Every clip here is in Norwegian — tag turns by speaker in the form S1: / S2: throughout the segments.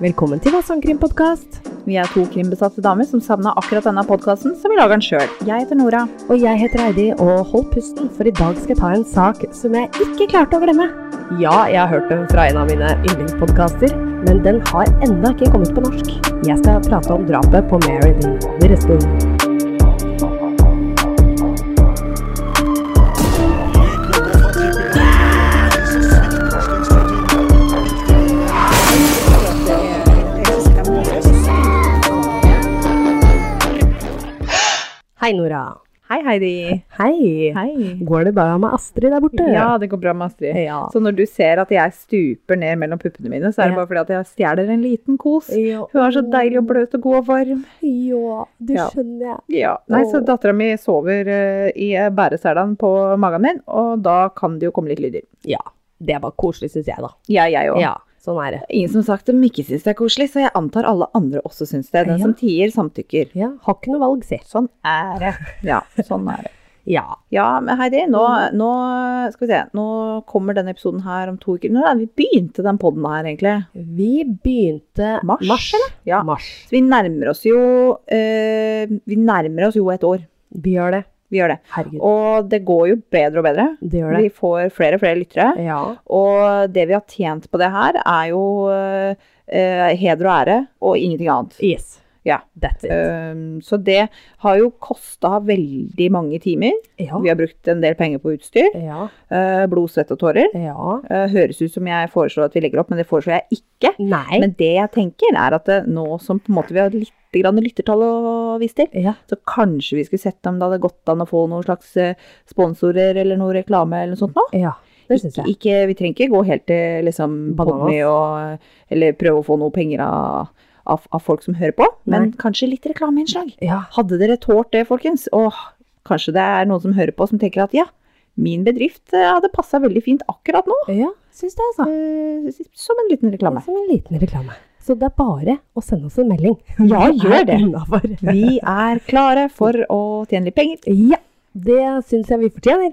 S1: Velkommen til Vassandkrimpodkast.
S2: Vi er to krimbesatte damer som savna akkurat denne podkasten, så vi lager den sjøl. Jeg heter Nora.
S1: Og jeg heter Heidi, og hold pusten, for i dag skal jeg ta en sak som jeg ikke klarte å glemme. Ja, jeg har hørt den fra en av mine yndlingspodkaster, men den har ennå ikke kommet på norsk. Jeg skal prate om drapet på Mary Lynn Witherspoon. Hei, Nora.
S2: Hei, Heidi.
S1: Hei.
S2: Hei.
S1: Går det bra med Astrid der borte?
S2: Ja, det går bra med Astrid.
S1: Ja.
S2: Så når du ser at jeg stuper ned mellom puppene mine, så er
S1: Ja.
S2: det bare fordi at jeg stjeler en liten kos. Hun er så deilig og bløt og god og varm.
S1: Ja, det
S2: Ja.
S1: skjønner jeg.
S2: Ja. Nei, så
S1: Åh.
S2: dattera mi sover eh, i bæreselen på magen min, og da kan det jo komme litt lyder.
S1: Ja, det var koselig, syns jeg, da.
S2: Ja, jeg òg.
S1: Ja, sånn er det.
S2: Ingen som sagt om ikke syns det er koselig, så jeg antar alle andre også syns det. Den
S1: Ja.
S2: som tier, samtykker.
S1: Ja, Har ikke noe valg, se.
S2: Sånn er det. Ja, sånn er det.
S1: Ja.
S2: Ja, men Heidi, nå,
S1: Mm.
S2: nå skal vi se. Nå kommer denne episoden her om to uker. Når er det vi begynte den podden her, egentlig?
S1: Vi begynte
S2: Mars?
S1: eller?
S2: Ja.
S1: Mars.
S2: Så vi nærmer oss jo eh, Vi nærmer oss jo et år.
S1: Vi gjør det.
S2: Vi gjør det.
S1: Herregud.
S2: Og det går jo bedre og bedre.
S1: det gjør det.
S2: Vi får flere og flere lyttere.
S1: Ja.
S2: Og det vi har tjent på det her, er jo eh, eh, heder og ære og ingenting annet.
S1: Yes.
S2: Ja.
S1: That's it.
S2: Um, så det har jo kosta veldig mange timer.
S1: ja.
S2: Vi har brukt en del penger på utstyr.
S1: Ja.
S2: eh, blod, svett og tårer.
S1: Ja.
S2: Eh, høres ut som jeg foreslår at vi legger opp, men det foreslår jeg ikke.
S1: Nei.
S2: Men det jeg tenker er at eh, nå som på en måte vi har litt grann lyttertall å vise til,
S1: ja.
S2: så kanskje vi skulle sett om det hadde gått an å få noen slags eh, sponsorer eller noe reklame eller noe sånt nå.
S1: ja. Det syns jeg.
S2: Ikke, vi trenger ikke gå helt til liksom
S1: Bananas.
S2: Podmy og eh, Eller prøve å få noe penger av, av, av folk som hører på, men kanskje litt reklameinnslag.
S1: Ja.
S2: Hadde dere tålt det, folkens? Og kanskje det er noen som hører på som tenker at ja, min bedrift eh, hadde passa veldig fint akkurat nå.
S1: ja. Syns det, altså.
S2: Eh, som en liten reklame.
S1: Som en liten reklame. Så det er bare å sende oss en melding.
S2: Ja, gjør det.
S1: Innafor.
S2: Vi er klare for å tjene litt penger.
S1: Ja. Det syns jeg vi fortjener.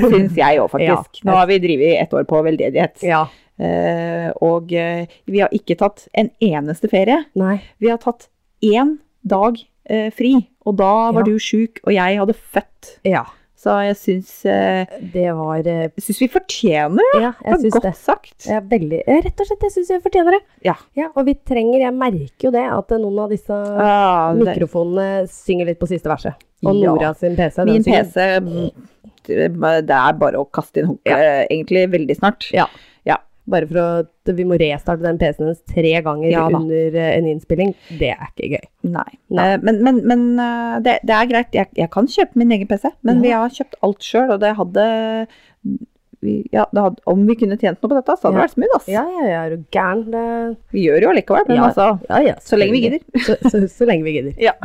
S2: syns jeg òg, faktisk.
S1: Ja.
S2: Nå har vi drevet ett år på veldedighet.
S1: Ja.
S2: Eh, og eh, vi har ikke tatt en eneste ferie.
S1: Nei.
S2: Vi har tatt én dag eh, fri, og da var
S1: Ja.
S2: du sjuk, og jeg hadde født.
S1: Ja.
S2: Så jeg syns, eh,
S1: Det var eh,
S2: jeg syns vi fortjener det.
S1: Ja, jeg syns
S2: godt
S1: det.
S2: sagt.
S1: Jeg er veldig, ja, rett og slett, jeg syns jeg fortjener det.
S2: Ja.
S1: Og vi trenger, jeg merker jo det, at eh, noen av disse
S2: Ah, det-
S1: mikrofonene synger litt på siste verset. Og
S2: Ja.
S1: Nora sin PC. den
S2: Min
S1: synger.
S2: PC mm, Det er bare å kaste inn håndkleet eh, egentlig veldig snart.
S1: Ja.
S2: Ja.
S1: Bare for at vi må restarte den PC-en hennes tre ganger
S2: Ja da.
S1: under eh, en innspilling. Det er ikke gøy.
S2: Nei.
S1: Nei.
S2: Eh, Men, men, men eh, det, det er greit. Jeg, jeg kan kjøpe min egen PC, men
S1: Ja.
S2: vi har kjøpt alt sjøl, og det hadde vi- ja, det hadde, om vi kunne tjent noe på dette, så hadde det
S1: Ja.
S2: vært smooth. Ass.
S1: Ja, ja, ja, er du gæren? Det-
S2: Vi gjør jo likevel, men
S1: Ja.
S2: altså,
S1: Ja, ja,
S2: så lenge vi gidder.
S1: Så, så, så lenge vi gidder.
S2: Ja.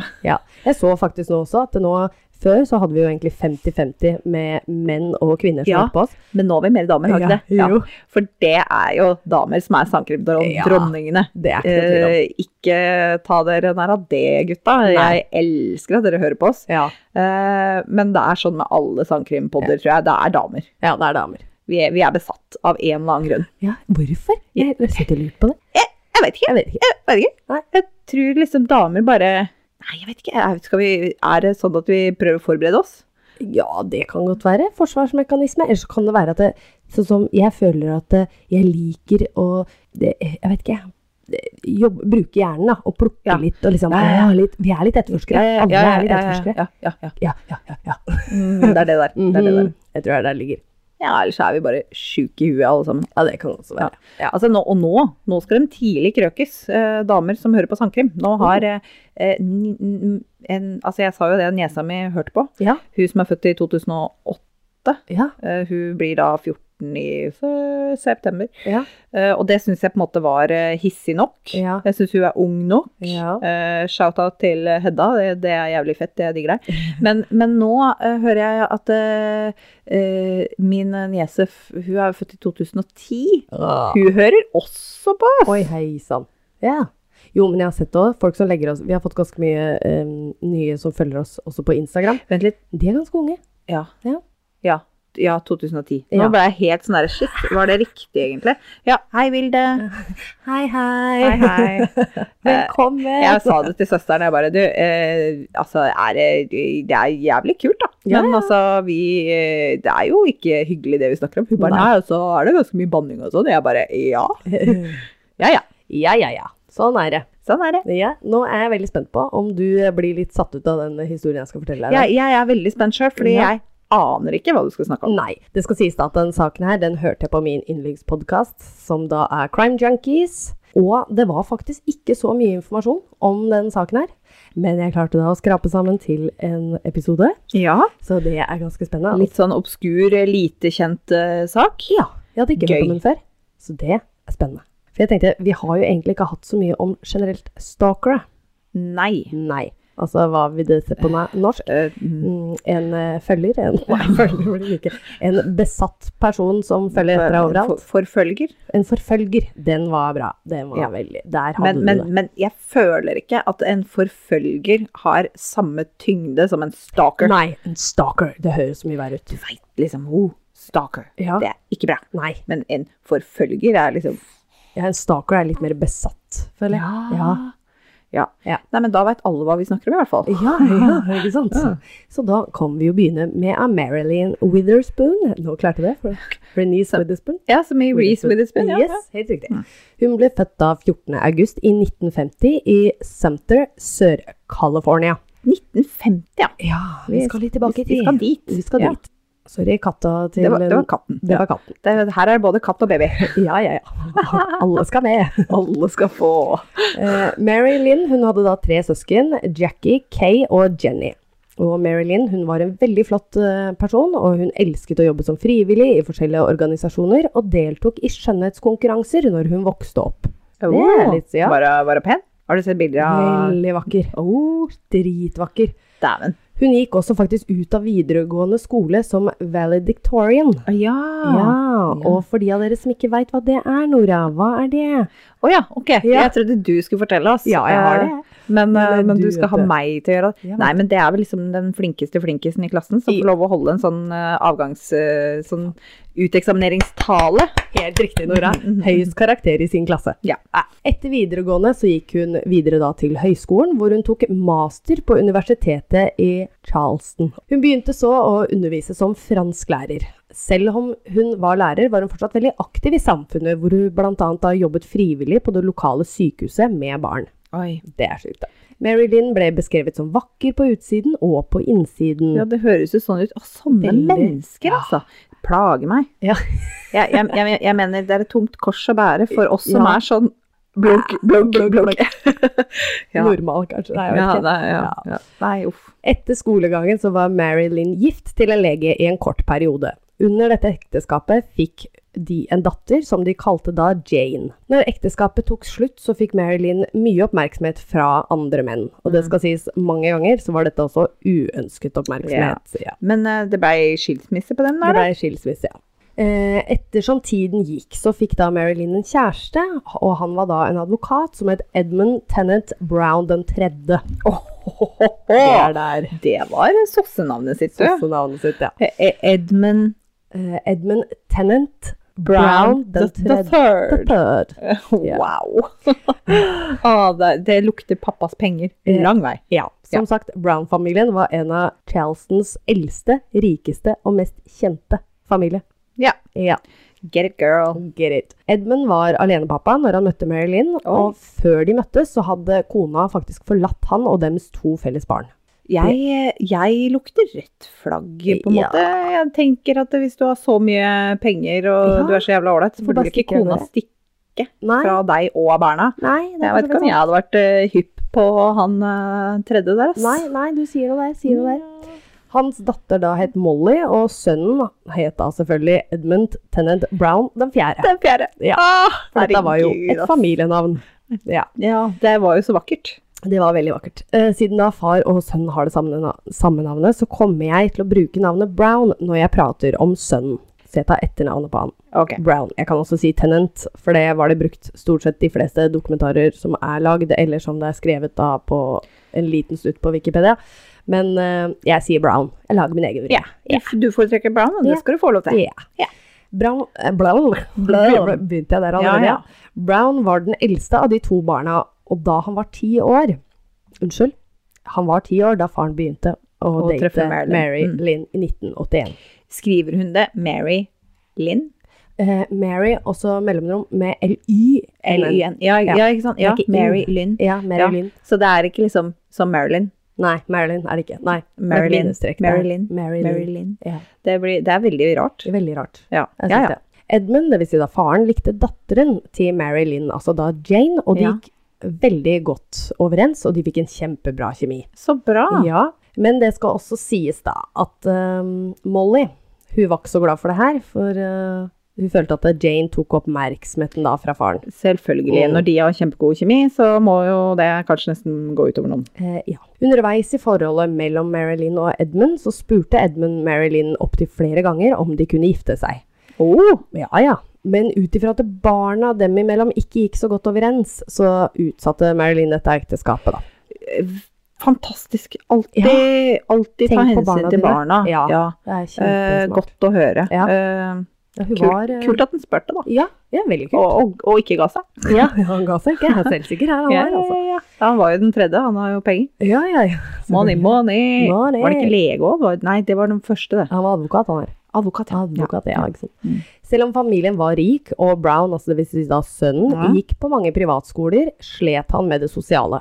S1: Jeg så faktisk nå også at nå, før så hadde vi jo egentlig 50-50 med menn og kvinner som
S2: Ja.
S1: hørte på oss.
S2: Men nå har vi mer damer, har vi ikke det?
S1: Jo,
S2: For det er jo damer som er sangkrimdronningene.
S1: Ja.
S2: dronningene.
S1: det er ikke noe tvil om.
S2: Eh, ikke ta dere nær av det, gutta.
S1: Nei.
S2: Jeg elsker at dere hører på oss.
S1: Ja.
S2: Eh, men det er sånn med alle sangkrimpodder, tror jeg. Det er damer.
S1: ja, det er damer.
S2: Vi er, vi er besatt av en eller annen grunn.
S1: Ja, hvorfor? Jeg har sittet og lurt på det.
S2: Jeg vet ikke.
S1: Jeg vet ikke.
S2: Jeg, vet ikke.
S1: Nei.
S2: jeg tror liksom damer bare Nei, jeg vet ikke. Jeg vet, skal vi, er det sånn at vi prøver å forberede oss?
S1: Ja, det kan godt være. Forsvarsmekanisme. Eller så kan det være at det, Sånn som jeg føler at eh, jeg liker å det, Jeg vet ikke, jeg. Det- Jobb, bruke hjernen da, og plukke
S2: Ja.
S1: litt. Og liksom,
S2: Ja, ja, ja.
S1: «Å, litt, vi er litt etterforskere. Alle er litt etterforskere.
S2: ja, ja, ja.
S1: Ja, ja, ja. ja.
S2: Mm, det er det der. Det er det der.
S1: Mhm. Jeg tror det er der det ligger.
S2: Ja, ellers er vi bare sjuke i huet, alle sammen.
S1: Ja, det kan også være.
S2: Ja, altså nå, og nå, nå skal de tidlig krøkes, eh, damer som hører på sangkrim. Nå har
S1: Mhm.
S2: eh, eh, n- n- en, Altså, jeg sa jo det niesa mi hørte på.
S1: Ja.
S2: Hun som er født i 2008.
S1: Ja.
S2: Eh, Hun blir da 14 i f- september.
S1: Ja.
S2: Eh, Og det syns jeg på en måte var eh, hissig nok.
S1: Ja.
S2: Jeg syns hun er ung nok.
S1: Ja.
S2: Eh, Shout-out til Hedda, det, det er jævlig fett, jeg digger deg. Men, men nå eh, hører jeg at eh, eh, min niese, f- hun er jo født i 2010, hun hører også på oss!
S1: Oi, hei sann. Ja. Jo, men jeg har sett det også, folk som legger oss Vi har fått ganske mye eh, nye som følger oss også på Instagram.
S2: Vent litt.
S1: De er ganske unge.
S2: Ja.
S1: Ja.
S2: Ja. Ja, 2010.
S1: Ja.
S2: Nå ble jeg helt sånn der shit. Var det riktig, egentlig? Ja. Hei, Vilde.
S1: Hei, hei.
S2: Hei, hei.
S1: Velkommen.
S2: Jeg sa det til søsteren. Jeg bare Du, eh, altså, er det, det er jævlig kult, da.
S1: Ja,
S2: Men altså, vi eh, Det er jo ikke hyggelig, det vi snakker om. Hun bare
S1: Nei.
S2: Nei, og så er det ganske mye banning og sånn. Jeg bare Ja. Ja, ja.
S1: ja, ja, ja. Sånn er det.
S2: Sånn er det.
S1: Ja, nå er jeg veldig spent på om du blir litt satt ut av den historien jeg skal fortelle deg.
S2: Jeg, jeg er veldig spent sjøl, fordi
S1: Ja.
S2: jeg aner ikke hva du skal snakke om.
S1: Nei. Det skal sies da at den saken her, den hørte jeg på min yndlingspodkast, som da er Crime Junkies. Og det var faktisk ikke så mye informasjon om den saken her. Men jeg klarte da å skrape sammen til en episode,
S2: Ja.
S1: så det er ganske spennende.
S2: Litt sånn obskur, lite kjent eh, sak.
S1: Ja, jeg hadde ikke hørt
S2: Gøy.
S1: om den før. Så det er spennende. For jeg tenkte, vi har jo egentlig ikke hatt så mye om generelt stalkere.
S2: Nei.
S1: Nei. Altså, hva vil det se på na- norsk?
S2: Eh,
S1: Mm, En eh, følger? En, nei, følger blir det ikke. En besatt person som følger etter deg overalt?
S2: For, forfølger.
S1: En forfølger. Den var bra. Den var
S2: Ja.
S1: veldig Der hadde
S2: Men, men,
S1: du det.
S2: men jeg føler ikke at en forfølger har samme tyngde som en stalker.
S1: Nei, en stalker. Det høres så mye verre ut.
S2: Du veit liksom oh, Stalker.
S1: Ja.
S2: Det er ikke bra.
S1: Nei.
S2: Men en forfølger er liksom
S1: Ja, en stalker er litt mer besatt, føler jeg. Ja.
S2: Ja.
S1: Ja.
S2: Nei, men da veit alle hva vi snakker om, i hvert fall.
S1: Ja, ja, ikke sant? Så da kan vi jo begynne med av Marilyn Witherspoon. Nå klarte jeg det. for- Renise Witherspoon.
S2: Ja, som i Reese Witherspoon. Ja.
S1: Yes, helt riktig. Hun ble født da 14. august i 1950 i Sumter, Sør-California.
S2: 1950, ja.
S1: Ja, vi skal litt tilbake i
S2: Vi
S1: tid.
S2: skal dit.
S1: Vi skal
S2: Ja.
S1: dit. Sorry, katta til
S2: Det var, det var katten.
S1: Det var katten.
S2: Det, her er det både katt og baby.
S1: Ja, ja, ja. Alle skal med.
S2: Alle skal få
S1: Eh, Mary Lynn hun hadde da tre søsken, Jackie, Kay og Jenny. Og Mary Lynn hun var en veldig flott eh, person, og hun elsket å jobbe som frivillig i forskjellige organisasjoner, og deltok i skjønnhetskonkurranser når hun vokste opp.
S2: Det
S1: er litt- ja.
S2: Var det- var det pen? Har du sett bilder av
S1: Veldig vakker.
S2: oh,
S1: Dritvakker.
S2: Dæven.
S1: Hun gikk også faktisk ut av videregående skole som valedictorian.
S2: Ja.
S1: Ah. Ja, og for de av dere som ikke veit hva det er, Nora, hva er det?
S2: Å ja, ok.
S1: Ja.
S2: Jeg trodde du skulle fortelle oss.
S1: Ja, jeg har det.
S2: Eh, Men, eh,
S1: Eller
S2: men
S1: du
S2: du
S1: vet
S2: skal ha
S1: det.
S2: meg til å gjøre det.
S1: Ja,
S2: Nei, men det er vel liksom den flinkeste flinkisen i klassen som
S1: I-
S2: får lov å holde en sånn eh, avgangs... eh, sånn uteksamineringstale.
S1: Helt riktig, Nora. Høyest karakter i sin klasse.
S2: Ja.
S1: Etter videregående så gikk hun videre da til høyskolen, hvor hun tok master på universitetet i Charleston. Hun begynte så å undervise som fransklærer. Selv om hun var lærer, var hun fortsatt veldig aktiv i samfunnet, hvor hun bl.a. da jobbet frivillig på det lokale sykehuset med barn.
S2: Oi.
S1: Det er sjukt, da. Mary Lynn ble beskrevet som vakker på utsiden og på innsiden.
S2: Ja, det høres jo sånn ut. Å, sånne
S1: Veldig.
S2: mennesker,
S1: Ja.
S2: altså. Plager meg.
S1: Ja.
S2: jeg, jeg, jeg, jeg mener det er et tungt kors å bære for oss som
S1: Ja.
S2: er sånn blunk, blunk, blunk. blunk. ja.
S1: Normal, kanskje. Nei, jeg vet
S2: Ja,
S1: ikke.
S2: nei, ja, ja. nei, uff.
S1: Etter skolegangen så var Mary Lynn gift til en lege i en kort periode. Under dette ekteskapet fikk de en datter som de kalte da Jane. Når ekteskapet tok slutt, så fikk Mary Lynn mye oppmerksomhet fra andre menn. Og det skal sies mange ganger, så var dette også uønsket oppmerksomhet. Ja.
S2: Men eh, det ble skilsmisse på den
S1: Det
S2: der, da?
S1: ble skilsmisse, ja. Eh, Ettersom tiden gikk, så fikk da Mary Lynn en kjæreste, og han var da en advokat som het Edmund Tennant Brown den tredje. Det er der.
S2: Det var sossenavnet sitt, du.
S1: Også navnet sitt, ja.
S2: E- E- Edmund
S1: Eh, Edmund Tennant
S2: Brown,
S1: Brown
S2: the,
S1: den
S2: the
S1: tredje.
S2: third.
S1: Third. Ja.
S2: Wow. ah, det, det lukter pappas penger.
S1: Eh,
S2: Lang vei.
S1: Ja, som sagt, Brown-familien var en av Charlestons eldste, rikeste og mest kjente familie.
S2: Ja.
S1: Ja,
S2: Get it, girl.
S1: get it. Edmund var alenepappa når han møtte Mary Lynn, og før de møttes så hadde kona faktisk forlatt han og dems to felles barn.
S2: Jeg, jeg lukter rødt flagg, på en
S1: Ja.
S2: måte. Jeg tenker at hvis du har så mye penger og
S1: Ja.
S2: du er så jævla ålreit, så
S1: Får
S2: burde
S1: bare
S2: vel ikke
S1: stikke
S2: kona
S1: under.
S2: stikke
S1: Nei,
S2: fra deg og barna.
S1: nei, det sånn. er
S2: Jeg vet ikke om
S1: kanskje
S2: jeg hadde vært eh, hypp på han eh, tredje der. ass.
S1: sant. Nei, nei, du sier noe der, sier noe der. Hans datter da het Molly, og sønnen het da selvfølgelig Edmund Tennant Brown den fjerde.
S2: Den fjerde.
S1: Ja.
S2: Ah,
S1: For dette var jo
S2: herregud,
S1: et
S2: ass.
S1: familienavn. Ja,
S2: Ja, det var jo så vakkert.
S1: det var veldig vakkert. Eh, siden da far og sønn har det samme, na samme navnet, så kommer jeg til å bruke navnet Brown når jeg prater om sønnen. Så jeg tar etternavnet på han.
S2: Ok.
S1: Brown. Jeg kan også si Tennant, for det var det brukt stort sett de fleste dokumentarer som er lagd, eller som det er skrevet da på en liten slutt på Wikipedia. Men eh, jeg sier brown. Jeg lager min egen vri.
S2: Ja. If Du foretrekker brown, og det
S1: Ja.
S2: skal du få lov til.
S1: Ja. Brown, eh, brown.
S2: Brown.
S1: Begynte jeg der
S2: Ja,
S1: allerede?
S2: ja.
S1: Brown var den eldste av de to barna, og da han var ti år Unnskyld. Han var ti år da faren begynte å
S2: Å
S1: date
S2: treffe Marilyn.
S1: Mary
S2: Mm.
S1: Lynn i 1981.
S2: Skriver hun det Mary Lynn?
S1: Eh, Mary, også mellomrom med L-Y-L-Y.
S2: L-Y-N. Ja,
S1: Ja.
S2: ja. ikke sant? Ja,
S1: Det er ikke
S2: Mary Lynn.
S1: Ja, Mary
S2: Ja.
S1: Lynn.
S2: Så det er ikke liksom som Marilyn.
S1: Nei, Marilyn er det ikke. Nei, det er
S2: Marilyn.
S1: bindestrek der.
S2: Marilyn.
S1: Mary Lynn.
S2: Mary Lynn.
S1: Ja.
S2: Det, blir, det er veldig rart.
S1: Veldig rart.
S2: Ja,
S1: Jeg
S2: ja.
S1: synes
S2: ja.
S1: det. Edmund, dvs. Si da faren, likte datteren til Mary Lynn, altså da Jane, og de
S2: Ja.
S1: gikk veldig godt overens, og de fikk en kjempebra kjemi.
S2: Så bra.
S1: Ja, men det skal også sies da at øhm, Molly, hun var ikke så glad for det her, for øh, hun følte at Jane tok oppmerksomheten da fra faren.
S2: Selvfølgelig.
S1: Mm.
S2: Når de har kjempegod kjemi, så må jo det kanskje nesten gå utover noen.
S1: Eh, ja. Underveis i forholdet mellom Mary Lynn og Edmund, så spurte Edmund Mary Lynn opptil flere ganger om de kunne gifte seg.
S2: Oh,
S1: Ja, ja. Men ut ifra at barna dem imellom ikke gikk så godt overens, så utsatte Marilyn dette ekteskapet, da.
S2: fantastisk. Alltid, alltid
S1: Tenk
S2: ta
S1: på
S2: hensyn
S1: barna
S2: til
S1: dine.
S2: barna.
S1: Ja. Det er
S2: Eh,
S1: kjempesmart.
S2: godt å høre.
S1: Ja.
S2: Eh,
S1: ja, hun
S2: kult,
S1: var eh,
S2: kult at den spurte, da.
S1: Ja, ja, veldig
S2: Og,
S1: kult.
S2: og, og ikke ga seg.
S1: Ja, han ga seg ikke. Han er selvsikker her, han
S2: Ja,
S1: var,
S2: ja,
S1: altså.
S2: ja. Han var jo den tredje, han har jo penger.
S1: Ja, ja, ja.
S2: Money, money.
S1: Money.
S2: Var det ikke lege òg? Nei, det var den første, det.
S1: Han var advokat, han her.
S2: Advokat. ja.
S1: Advokat, ja, ikke sant.
S2: Mm.
S1: Selv om familien var rik, og Brown, altså det vil si da sønnen,
S2: Ja.
S1: gikk på mange privatskoler, slet han med det sosiale.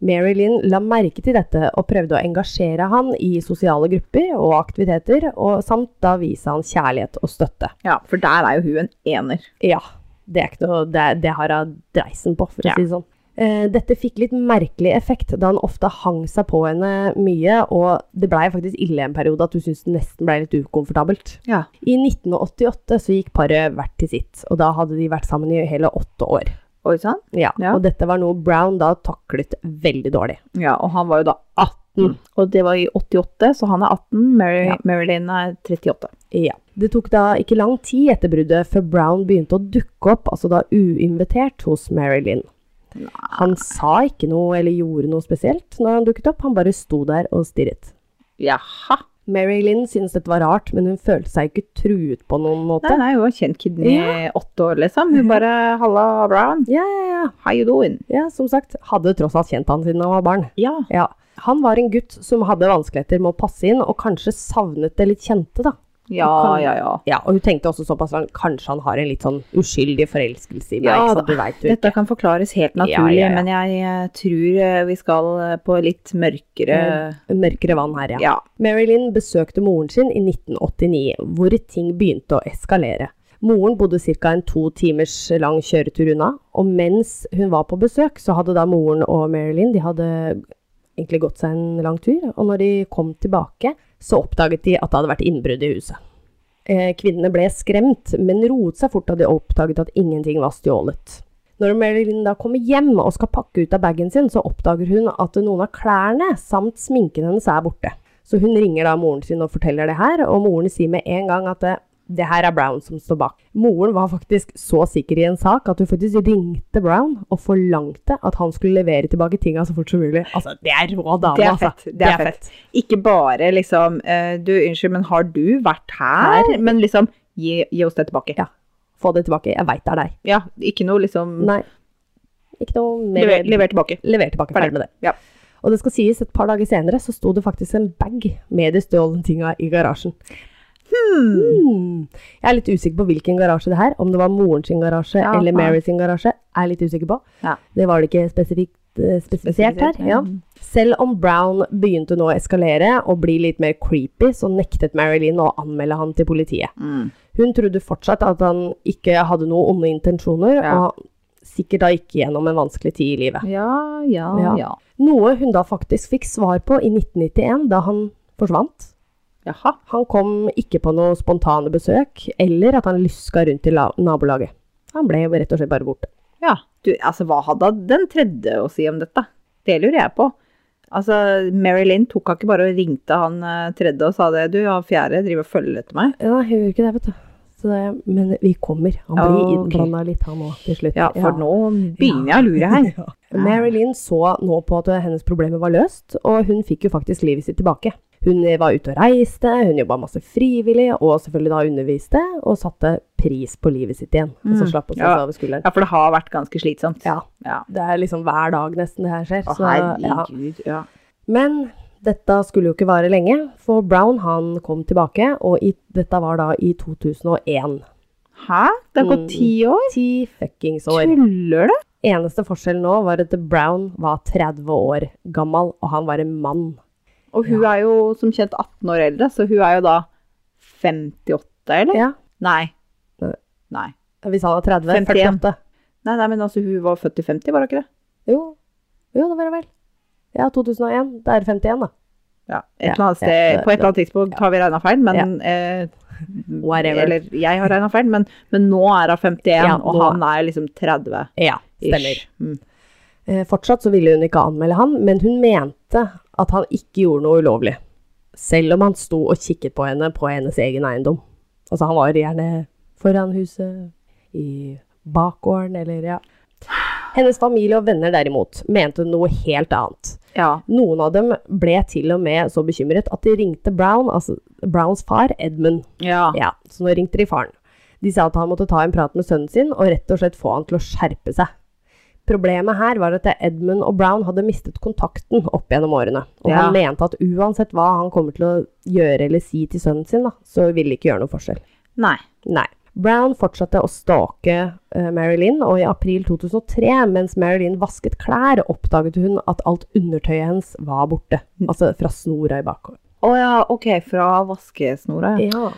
S1: Marilyn la merke til dette og prøvde å engasjere han i sosiale grupper og aktiviteter, og samt da vise han kjærlighet og støtte.
S2: Ja, for der er jo hun en ener.
S1: Ja, det er ikke noe Det, det har hun dreisen på, for å
S2: Ja.
S1: si det sånn. Eh, Dette fikk litt merkelig effekt, da han ofte hang seg på henne mye, og det blei faktisk ille en periode at hun syntes det nesten blei litt ukomfortabelt.
S2: Ja.
S1: I 1988 så gikk paret hvert til sitt, og da hadde de vært sammen i hele åtte år.
S2: Oi sann.
S1: Ja,
S2: Ja.
S1: Og dette var noe Brown da taklet veldig dårlig.
S2: Ja, og han var jo da 18. Og det var i 88, så han er 18. Mary,
S1: Ja.
S2: Marilyn er 38.
S1: Ja. Det tok da ikke lang tid etter bruddet før Brown begynte å dukke opp, altså da uinvitert, hos Mary Lynn. Han sa ikke noe eller gjorde noe spesielt når han dukket opp, han bare sto der og stirret.
S2: Jaha.
S1: Mary Lynn syntes dette var rart, men hun følte seg ikke truet på noen måte.
S2: Nei, nei, hun var kjent kiden i åtte år, liksom. Hun bare Halla, Brown.
S1: Ja, ja, ja.
S2: How you doing?
S1: ja, som sagt, hadde tross alt kjent han siden han var barn.
S2: Ja.
S1: Ja. Han var en gutt som hadde vanskeligheter med å passe inn, og kanskje savnet det litt kjente, da.
S2: Ja,
S1: Kan-
S2: ja, ja.
S1: Ja, og hun tenkte også såpass langt, kanskje han har en litt sånn uskyldig forelskelse i meg,
S2: Ja
S1: ikke
S2: da.
S1: sant, du vet jo
S2: Dette
S1: ikke.
S2: kan forklares helt naturlig,
S1: Ja, ja, ja.
S2: men jeg eh, tror eh, vi skal eh, på litt mørkere
S1: Eh, Mørkere vann her, ja.
S2: Mm. Ja.
S1: Marilyn besøkte moren sin i 1989, hvor ting begynte å eskalere. Moren bodde ca. en to timers lang kjøretur unna, og mens hun var på besøk, så hadde da moren og Marilyn de hadde egentlig gått seg en lang tur, og når de kom tilbake, så oppdaget de at det hadde vært innbrudd i huset. Eh, Kvinnene ble skremt, men roet seg fort da de oppdaget at ingenting var stjålet. Når Marilyn da kommer hjem og skal pakke ut av bagen sin, så oppdager hun at noen av klærne samt sminken hennes er borte. Så hun ringer da moren sin og forteller det her, og moren sier med en gang at det, det her er Brown som står bak. Moren var faktisk så sikker i en sak at hun faktisk ringte Brown og forlangte at han skulle levere tilbake tinga så fort som mulig. Altså, det er rå dame,
S2: Det er
S1: altså.
S2: fett. Det er fett. Ikke bare liksom eh, Du, unnskyld, men har du vært her?
S1: Her?
S2: Men liksom, gi, gi oss det tilbake.
S1: Ja. Få det tilbake. Jeg veit det er deg.
S2: Ja, ikke noe liksom
S1: Nei. Ikke noe mer
S2: lever, lever tilbake.
S1: Lever tilbake. Ferdig med det.
S2: Ja.
S1: Og det skal sies, et par dager senere så sto det faktisk en bag med de stjålne tinga i garasjen. Hmm. Jeg er litt usikker på hvilken garasje det er, om det var moren sin garasje
S2: Ja,
S1: eller
S2: ja.
S1: Mary sin garasje. er jeg litt usikker på.
S2: Ja.
S1: Det var det ikke spesifikt, eh, spesifisert her.
S2: Spesifisert, Mm.
S1: Ja. Selv om Brown begynte nå å eskalere og bli litt mer creepy, så nektet Marilyn å anmelde han til politiet.
S2: Mm.
S1: Hun trodde fortsatt at han ikke hadde noen onde intensjoner,
S2: Ja.
S1: og sikkert da gikk gjennom en vanskelig tid i livet.
S2: Ja, ja,
S1: Ja.
S2: ja.
S1: Noe hun da faktisk fikk svar på i 1991, da han forsvant.
S2: Jaha.
S1: Han kom ikke på noe spontane besøk, eller at han lyska rundt i la- nabolaget. Han ble jo rett og slett bare borte.
S2: Ja. Du, altså, hva hadde den tredje å si om dette? Det lurer jeg på. Altså, Mary Lynn tok ikke bare og ringte han eh, tredje og sa det. Du, han fjerde driver og følger etter meg.
S1: Ja, hun gjorde ikke det, vet du. Så det, men vi kommer. Han blir
S2: Ja, ok.
S1: innblanda litt, han òg, til slutt.
S2: Ja, for nå begynner jeg å lure her.
S1: Mary Lynn så nå på at hennes problemer var løst, og hun fikk jo faktisk livet sitt tilbake. Hun var ute og reiste, hun jobba masse frivillig, og selvfølgelig da underviste, og satte pris på livet sitt igjen. Og så
S2: Mm.
S1: slapp hun seg
S2: Ja.
S1: over skulderen.
S2: Ja, for det har vært ganske slitsomt.
S1: Ja.
S2: ja.
S1: Det er liksom hver dag nesten det her skjer.
S2: Å,
S1: så, ja.
S2: herregud. Ja.
S1: Men dette skulle jo ikke vare lenge, for Brown han kom tilbake, og i, dette var da i 2001.
S2: Hæ? Det har
S1: Mm.
S2: gått ti år?
S1: Ti fuckings år.
S2: Tuller du?
S1: Eneste forskjellen nå var at Brown var 30 år gammel, og han var en mann.
S2: Og hun er jo som kjent 18 år eldre, så hun er jo da 58, eller?
S1: Ja.
S2: Nei.
S1: Nei.
S2: Nei.
S1: Hvis han var 30,
S2: 51.
S1: 48.
S2: Nei, nei, men altså, hun var født i 50, var hun ikke det?
S1: Jo. jo, det var det vel. Ja, 2001. Det er 51, da.
S2: Ja, et
S1: Ja,
S2: eller
S1: ja,
S2: annet sted,
S1: det-
S2: På et eller annet tidspunkt har vi regna feil, men eh,
S1: Whatever.
S2: Eller jeg har regna feil, men, men nå er hun 51,
S1: Ja,
S2: og
S1: nå-
S2: han er liksom 30.
S1: Ja,
S2: -ish.
S1: stemmer.
S2: Mm.
S1: Eh, fortsatt så ville hun ikke anmelde han, men hun mente at han ikke gjorde noe ulovlig. Selv om han sto og kikket på henne på hennes egen eiendom. Altså, han var gjerne foran huset, i bakgården, eller ja. Hennes familie og venner derimot mente noe helt annet.
S2: Ja.
S1: Noen av dem ble til og med så bekymret at de ringte Brown, altså Browns far, Edmund.
S2: ja.
S1: Ja, så nå ringte de faren. De sa at han måtte ta en prat med sønnen sin, og rett og slett få han til å skjerpe seg. Problemet her var at Edmund og Brown hadde mistet kontakten opp gjennom årene, og
S2: Ja.
S1: han mente at uansett hva han kommer til å gjøre eller si til sønnen sin, da, så ville det ikke gjøre noen forskjell.
S2: Nei.
S1: Nei. Brown fortsatte å stalke eh, Mary Lynn, og i april 2003, mens Mary Lynn vasket klær, oppdaget hun at alt undertøyet hennes var borte. Altså fra snora i bakhånd.
S2: Å ja, OK, fra vaskesnora. Ja.
S1: Ja.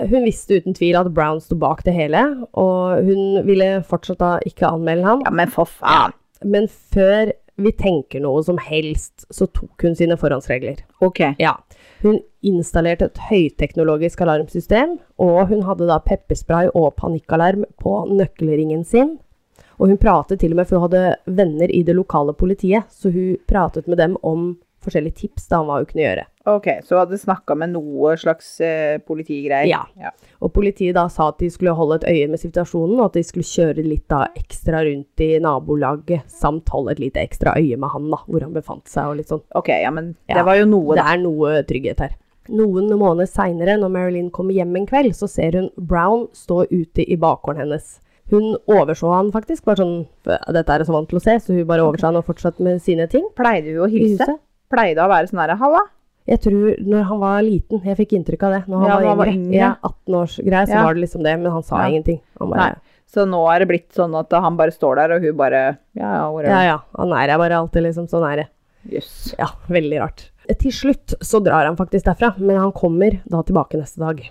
S1: Eh, hun visste uten tvil at Brown sto bak det hele, og hun ville fortsatt da ikke anmelde ham.
S2: ja, men for faen.
S1: Men før vi tenker noe som helst, så tok hun sine forhåndsregler.
S2: OK.
S1: Ja. Hun installerte et høyteknologisk alarmsystem, og hun hadde da pepperspray og panikkalarm på nøkkelringen sin. Og hun pratet til og med, for hun hadde venner i det lokale politiet, så hun pratet med dem om forskjellige tips da om hva hun kunne gjøre.
S2: Ok, Så hadde snakka med noe slags eh, politigreier?
S1: Ja. Og politiet da sa at de skulle holde et øye med situasjonen, og at de skulle kjøre litt da ekstra rundt i nabolaget, samt holde et lite ekstra øye med han da, hvor han befant seg og litt sånn.
S2: Ok, ja, men
S1: Ja.
S2: det var jo noe,
S1: Det
S2: da.
S1: er noe trygghet her. Noen måneder seinere, når Marilyn kommer hjem en kveld, så ser hun Brown stå ute i bakgården hennes. Hun overså han faktisk, bare sånn Dette er hun så vant til å se, så hun bare overså han og fortsatte med sine ting.
S2: Pleide hun å
S1: i
S2: hilse?
S1: huset.
S2: Pleide å være sånn herre halla?
S1: Jeg tror når han var liten, jeg fikk inntrykk av det. Når han
S2: Ja,
S1: var,
S2: når han var
S1: yngre,
S2: yngre.
S1: ja, 18-årsgreie, så
S2: Ja.
S1: var det liksom det, men han sa
S2: Ja.
S1: ingenting. Han bare,
S2: Nei. Så nå er det blitt sånn at han bare står der, og hun bare Ja, ja, hvor
S1: Ja,
S2: er
S1: ja. Han er her bare alltid, liksom. Sånn er det.
S2: Jøss.
S1: Ja, veldig rart. Eh, Til slutt så drar han faktisk derfra, men han kommer da tilbake neste dag.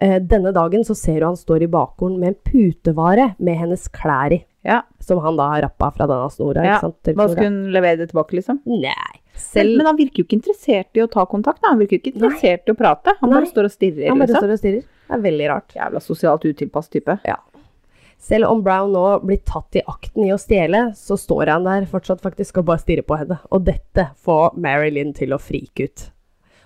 S1: Eh, denne dagen så ser du han står i bakgården med en putevare med hennes klær i,
S2: Ja.
S1: som han da har rappa fra denne snora,
S2: Ja,
S1: ikke sant? Til
S2: Hva
S1: snora.
S2: skulle hun levere det tilbake, liksom?
S1: Nei. Selv
S2: Men han virker jo ikke interessert i å ta kontakt. Da. Han virker jo ikke interessert i å prate. Han
S1: Nei.
S2: bare står og stirrer.
S1: Han bare
S2: Liksom.
S1: står og stirrer. Det er veldig rart.
S2: Jævla sosialt utilpass type.
S1: Selv om Brown nå blir tatt i akten i å stjele, så står han der fortsatt faktisk og bare stirrer på henne. Og dette får Marilyn til å frike ut.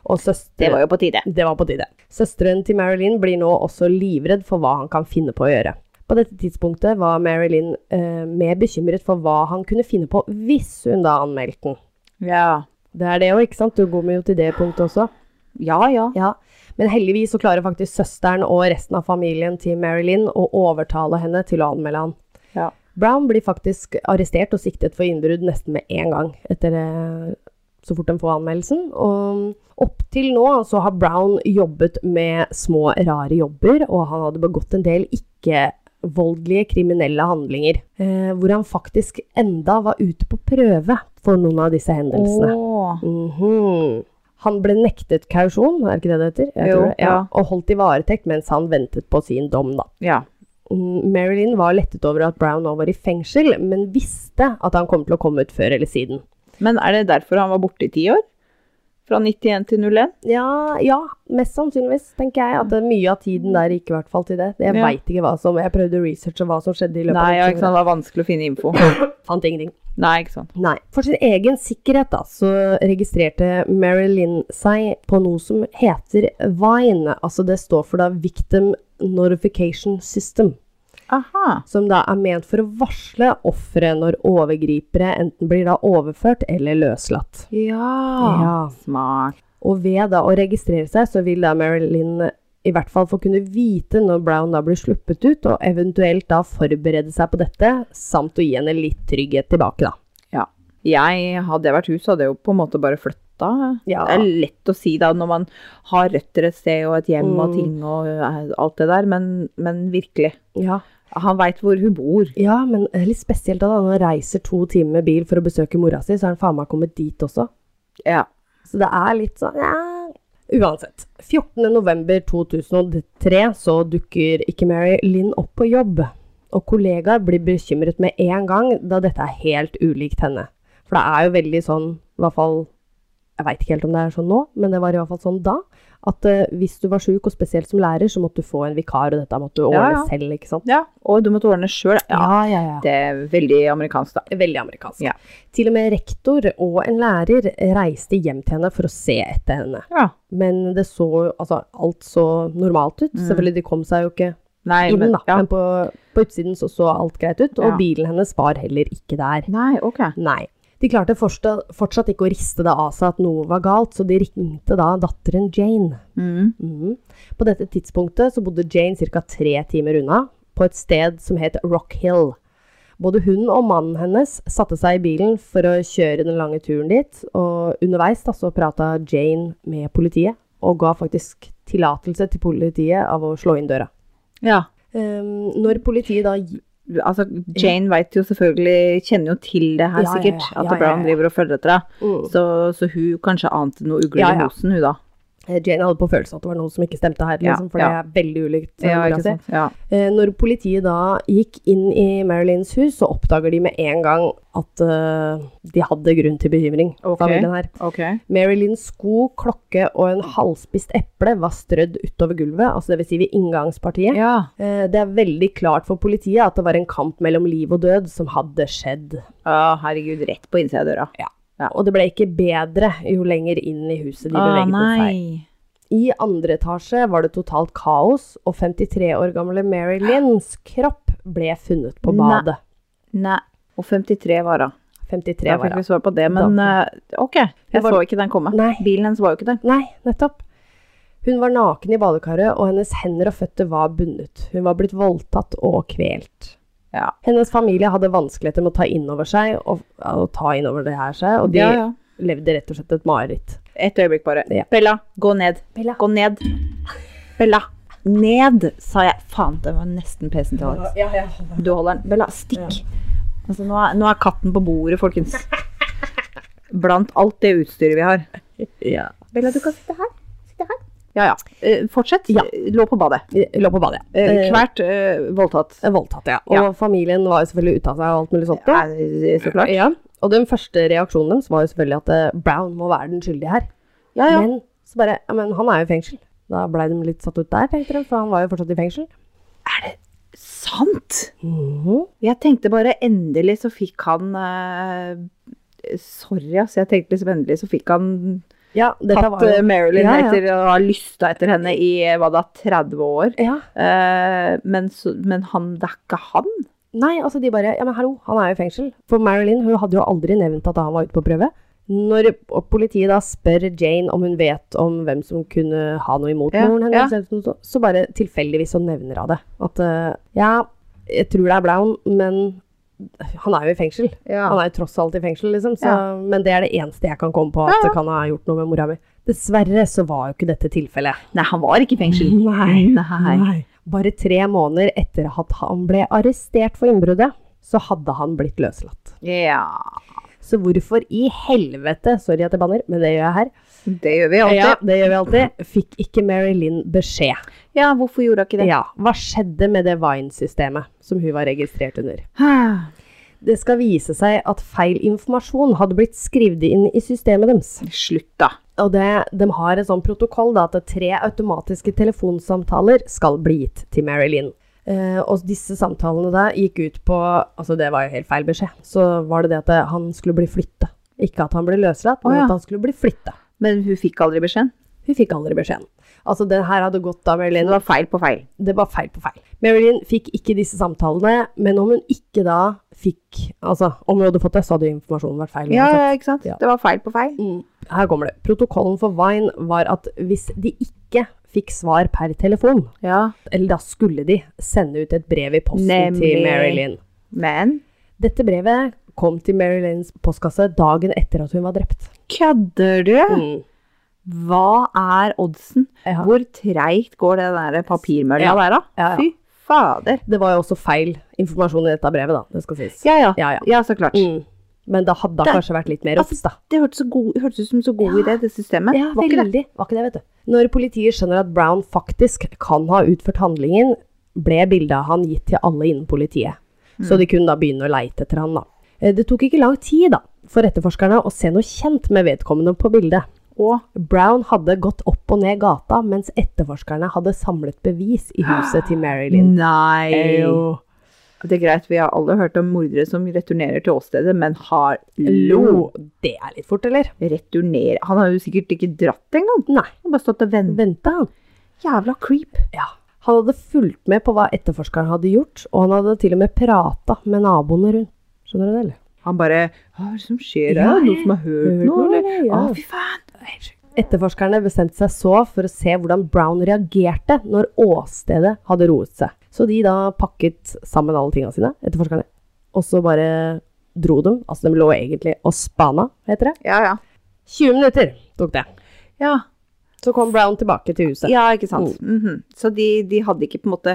S1: Og søstre...
S2: Det var jo på tide.
S1: Det var på tide. Søsteren til Marilyn blir nå også livredd for hva han kan finne på å gjøre. På dette tidspunktet var Marilyn eh, mer bekymret for hva han kunne finne på hvis hun da anmeldte den.
S2: Ja.
S1: Det er det jo, ikke sant? Du går med jo til det punktet også.
S2: Ja, ja.
S1: Ja. Men heldigvis så klarer faktisk søsteren og resten av familien til Marilyn å overtale henne til å anmelde han.
S2: Ja.
S1: Brown blir faktisk arrestert og siktet for innbrudd nesten med en gang etter det, så fort de får anmeldelsen. Og opp til nå så har Brown jobbet med små, rare jobber, og han hadde begått en del ikke-voldelige kriminelle handlinger, eh, hvor han faktisk enda var ute på prøve for noen av disse hendelsene.
S2: Åh.
S1: Mhm. Han ble nektet kausjon, er ikke det det heter? Jeg
S2: Jo,
S1: tror det. Ja.
S2: ja.
S1: Og holdt i varetekt mens han ventet på sin dom, da.
S2: Ja.
S1: Mm, Marilyn var lettet over at Brown nå var i fengsel, men visste at han kom til å komme ut før eller siden.
S2: Men er det derfor han var borte i ti år? Fra 91 til 01?
S1: Ja, ja, mest sannsynligvis, tenker jeg. At det- mye av tiden der gikk i hvert fall til det. Jeg
S2: Ja.
S1: veit ikke hva som Jeg prøvde å researche hva som skjedde i løpet
S2: Nei, ja,
S1: av
S2: ikke sant. Det var vanskelig å finne info.
S1: Fant ingenting.
S2: Nei, ikke sant.
S1: Nei. For sin egen sikkerhet da, så registrerte Marilyn seg på noe som heter Vine. Altså det står for da Victim Notification System.
S2: Aha.
S1: som da er ment for å varsle offeret når overgripere enten blir da overført eller løslatt.
S2: Ja. Smart.
S1: Og ved da å registrere seg, så vil da Marilyn i hvert fall få kunne vite når Brown da blir sluppet ut, og eventuelt da forberede seg på dette, samt å gi henne litt trygghet tilbake, da.
S2: Jeg hadde jeg vært hus, hadde jeg jo på en måte bare flytta.
S1: Ja.
S2: Det er lett å si da, når man har røtter et sted og et hjem og
S1: Mm.
S2: ting og eh, alt det der, men, men virkelig.
S1: Ja,
S2: Han veit hvor hun bor.
S1: ja men det er litt spesielt da, når han reiser to timer med bil for å besøke mora si, så er han faen meg kommet dit også.
S2: Ja.
S1: Så det er litt sånn ja. Uansett. 14.11.2003 så dukker ikke Mary Lynn opp på jobb. Og kollegaer blir bekymret med en gang, da dette er helt ulikt henne. For det er jo veldig sånn, i hvert fall Jeg veit ikke helt om det er sånn nå, men det var i hvert fall sånn da. At eh, hvis du var sjuk, og spesielt som lærer, så måtte du få en vikar, og dette måtte du ordne
S2: Ja, ja.
S1: selv, ikke sant.
S2: ja. Og du måtte ordne sjøl. Ja.
S1: ja, ja.
S2: Det er veldig amerikansk, da.
S1: Veldig amerikansk.
S2: Ja.
S1: Til og med rektor og en lærer reiste hjem til henne for å se etter henne.
S2: Ja.
S1: Men det så altså, alt så normalt ut. Selvfølgelig, de kom seg jo ikke
S2: Nei,
S1: inn,
S2: men,
S1: da.
S2: Mm. ja.
S1: Men på, på utsiden så, så alt greit ut, og
S2: Ja.
S1: bilen hennes var heller ikke der.
S2: Nei, ok.
S1: Nei. De klarte fortsatt, fortsatt ikke å riste det av seg at noe var galt, så de ringte da datteren Jane.
S2: Mm.
S1: Mhm. På dette tidspunktet så bodde Jane ca. tre timer unna, på et sted som het Rock Hill. Både hun og mannen hennes satte seg i bilen for å kjøre den lange turen dit, og underveis da så prata Jane med politiet, og ga faktisk tillatelse til politiet av å slå inn døra.
S2: Ja.
S1: Ehm, når politiet da gi-
S2: Altså, Jane vet jo selvfølgelig Kjenner jo til det
S1: Ja,
S2: her,
S1: ja, ja.
S2: sikkert.
S1: Ja,
S2: At
S1: ja, ja.
S2: Brown driver og følger etter henne.
S1: Mm.
S2: Så, så hun kanskje ante noe ugler
S1: Ja, ja.
S2: i mosen, hun da.
S1: eh, Jane hadde på følelsen at det var noe som ikke stemte her,
S2: Ja,
S1: liksom, for
S2: ja.
S1: det er veldig ulikt. eh,
S2: Ja,
S1: mora
S2: ikke
S1: si.
S2: sant? Ja.
S1: Eh, Når politiet da gikk inn i Marilyns hus, så oppdager de med en gang at eh, de hadde grunn til bekymring.
S2: Ok.
S1: familien her.
S2: Ok.
S1: Marilyns sko, klokke og en halvspist eple var strødd utover gulvet, altså dvs. Si ved inngangspartiet.
S2: Ja.
S1: Eh, Det er veldig klart for politiet at det var en kamp mellom liv og død som hadde skjedd.
S2: Å, herregud, rett på innsida av døra.
S1: Og det ble ikke bedre jo lenger inn i huset de
S2: Ah,
S1: beveget seg. I andre etasje var det totalt kaos, og 53 år gamle Marilyns kropp ble funnet på
S2: Nei.
S1: badet.
S2: Nei. Og 53 var hun.
S1: 53
S2: Da
S1: var
S2: fikk
S1: det.
S2: vi svar på det, men eh, ok. Jeg
S1: var-
S2: så ikke den komme.
S1: Nei.
S2: Bilen hennes var jo ikke der.
S1: Nei, nettopp. Hun var naken i badekaret, og hennes hender og føtter var bundet. Hun var blitt voldtatt og kvelt.
S2: Ja.
S1: Hennes familie hadde vanskeligheter med å ta inn over seg, og, å ta inn over det her seg, og de
S2: Ja, ja.
S1: levde rett og slett et mareritt.
S2: Et øyeblikk bare.
S1: Ja.
S2: Bella, gå ned.
S1: Bella.
S2: Gå ned. Bella. Ned, sa jeg. Faen, det var nesten pesen til Alex. Du holder den. Bella, stikk. Altså, nå, er, nå er katten på bordet, folkens. Blant alt det utstyret vi har.
S1: Ja.
S2: Bella, du kan sitte her. Sitte her. Ja, ja. Eh, fortsett.
S1: Ja.
S2: Lå på badet.
S1: Lå på badet, ja.
S2: Eh,
S1: Eh,
S2: Kvært, eh, voldtatt.
S1: Voldtatt, ja. Og
S2: Ja.
S1: familien var jo selvfølgelig ute av seg og alt mulig sånt. da.
S2: Eh, Så klart.
S1: Ja. Og den første reaksjonen deres var jo selvfølgelig at eh, Brown må være den skyldige her.
S2: Ja, ja.
S1: Men så bare Ja, men han er jo i fengsel. Da blei de litt satt ut der, tenkte de, for han var jo fortsatt i fengsel.
S2: Sant!
S1: Mhm.
S2: Jeg tenkte bare endelig så fikk han eh, Sorry, ass. Jeg tenkte liksom endelig så fikk han
S1: Ja, dette
S2: tatt
S1: var jo
S2: eh, Marilyn
S1: Ja, ja.
S2: etter å ha lysta etter henne i eh, hva da, 30 år.
S1: Ja.
S2: Eh, men, så, men han, det er ikke han?
S1: Nei, altså de bare Ja, men hallo, han er jo i fengsel. For Marilyn hun hadde jo aldri nevnt at han var ute på prøve. Når politiet da spør Jane om hun vet om hvem som kunne ha noe imot
S2: Ja,
S1: moren
S2: ja.
S1: hennes, eller noe sånt, så bare tilfeldigvis så nevner hun det. At eh, ja, jeg tror det er Brown, men han er jo i fengsel. Han er jo tross alt i fengsel, liksom. Så,
S2: Ja.
S1: Men det er det eneste jeg kan komme på at det kan ha gjort noe med mora mi. Dessverre så var jo ikke dette tilfellet.
S2: Nei, han var ikke i fengsel.
S1: Nei.
S2: Nei.
S1: Bare tre måneder etter at han ble arrestert for innbruddet, så hadde han blitt løslatt.
S2: Ja.
S1: Så hvorfor i helvete, sorry at jeg banner, men det gjør jeg her,
S2: Det gjør vi alltid.
S1: ja, det gjør vi alltid, fikk ikke Mary Lynn beskjed.
S2: Ja, hvorfor gjorde han ikke det?
S1: Ja, hva skjedde med det Vine-systemet som hun var registrert under? Det skal vise seg at feil informasjon hadde blitt skrevet inn i systemet deres.
S2: Slutt, da.
S1: Og det, de har en sånn protokoll da, at tre automatiske telefonsamtaler skal bli gitt til Mary Lynn. Eh, og disse samtalene da gikk ut på Altså, det var jo helt feil beskjed. Så var det det at han skulle bli flytta. Ikke at han ble løslatt, men
S2: Å, ja.
S1: at han skulle bli flytta.
S2: Men hun fikk aldri beskjeden?
S1: Hun fikk aldri beskjeden. Altså, den her hadde gått av Mary
S2: Det
S1: Lane.
S2: var feil på feil.
S1: Det var feil på feil. Marilyn fikk ikke disse samtalene, men om hun ikke da fikk Altså, om hun hadde fått det, så hadde jo informasjonen vært feil.
S2: Ja,
S1: uansett.
S2: ikke sant?
S1: Ja.
S2: Det var feil på feil.
S1: Mm. Her kommer det. Protokollen for Vine var at hvis de ikke fikk svar per telefon,
S2: Ja.
S1: eller da skulle de sende ut et brev i posten
S2: Nemlig.
S1: til Marilyn.
S2: Men
S1: Dette brevet kom til Marilyns postkasse dagen etter at hun var drept.
S2: kødder du?
S1: Mm.
S2: Hva er oddsen?
S1: Ja.
S2: Hvor treigt går det der papirmølla
S1: Ja.
S2: der, da?
S1: Ja, ja.
S2: Fy fader.
S1: Det var jo også feil informasjon i dette brevet, da. Det skal sies.
S2: Ja, ja.
S1: Ja, ja.
S2: Ja, så klart.
S1: Mm. Men det hadde da
S2: Det- altså
S1: kanskje vært litt mer obs, da.
S2: Det hørtes, så god, hørtes ut som så god idé, det systemet.
S1: Ja,
S2: Var ikke det?
S1: veldig. Var ikke det, vet du. Når politiet skjønner at Brown faktisk kan ha utført handlingen, ble bildet av han gitt til alle innen politiet.
S2: Mm.
S1: Så de kunne da begynne å leite etter han, da. Eh, Det tok ikke lang tid, da, for etterforskerne å se noe kjent med vedkommende på bildet.
S2: Og
S1: Brown hadde gått opp og ned gata mens etterforskerne hadde samlet bevis i huset til Marilyn.
S2: Nei!
S1: Eyo.
S2: Det er greit, vi har alle hørt om mordere som returnerer til åstedet, men hallo!
S1: Lo! Det er litt fort, eller?
S2: Returnere Han har jo sikkert ikke dratt engang.
S1: Nei.
S2: Han har bare stått og ventet.
S1: Venta han.
S2: Jævla creep.
S1: Ja. Han hadde fulgt med på hva etterforskeren hadde gjort, og han hadde til og med prata med naboene rundt. Skjønner du det, eller?
S2: Han bare Hva er det som skjer?
S1: Ja,
S2: Er det noen som har hørt,
S1: hørt
S2: noe?
S1: noe,
S2: Eller?
S1: eller? Ja.
S2: Å, fy faen!
S1: Etterforskerne bestemte seg så for å se hvordan Brown reagerte når åstedet hadde roet seg. Så de da pakket sammen alle tingene sine, etterforskerne, og så bare dro dem. Altså, de lå egentlig og spana, heter det.
S2: Ja, ja.
S1: 20 minutter tok det.
S2: Ja,
S1: Så kom Brown tilbake til huset.
S2: ja ikke sant. Mhm. Så de, de hadde ikke på en måte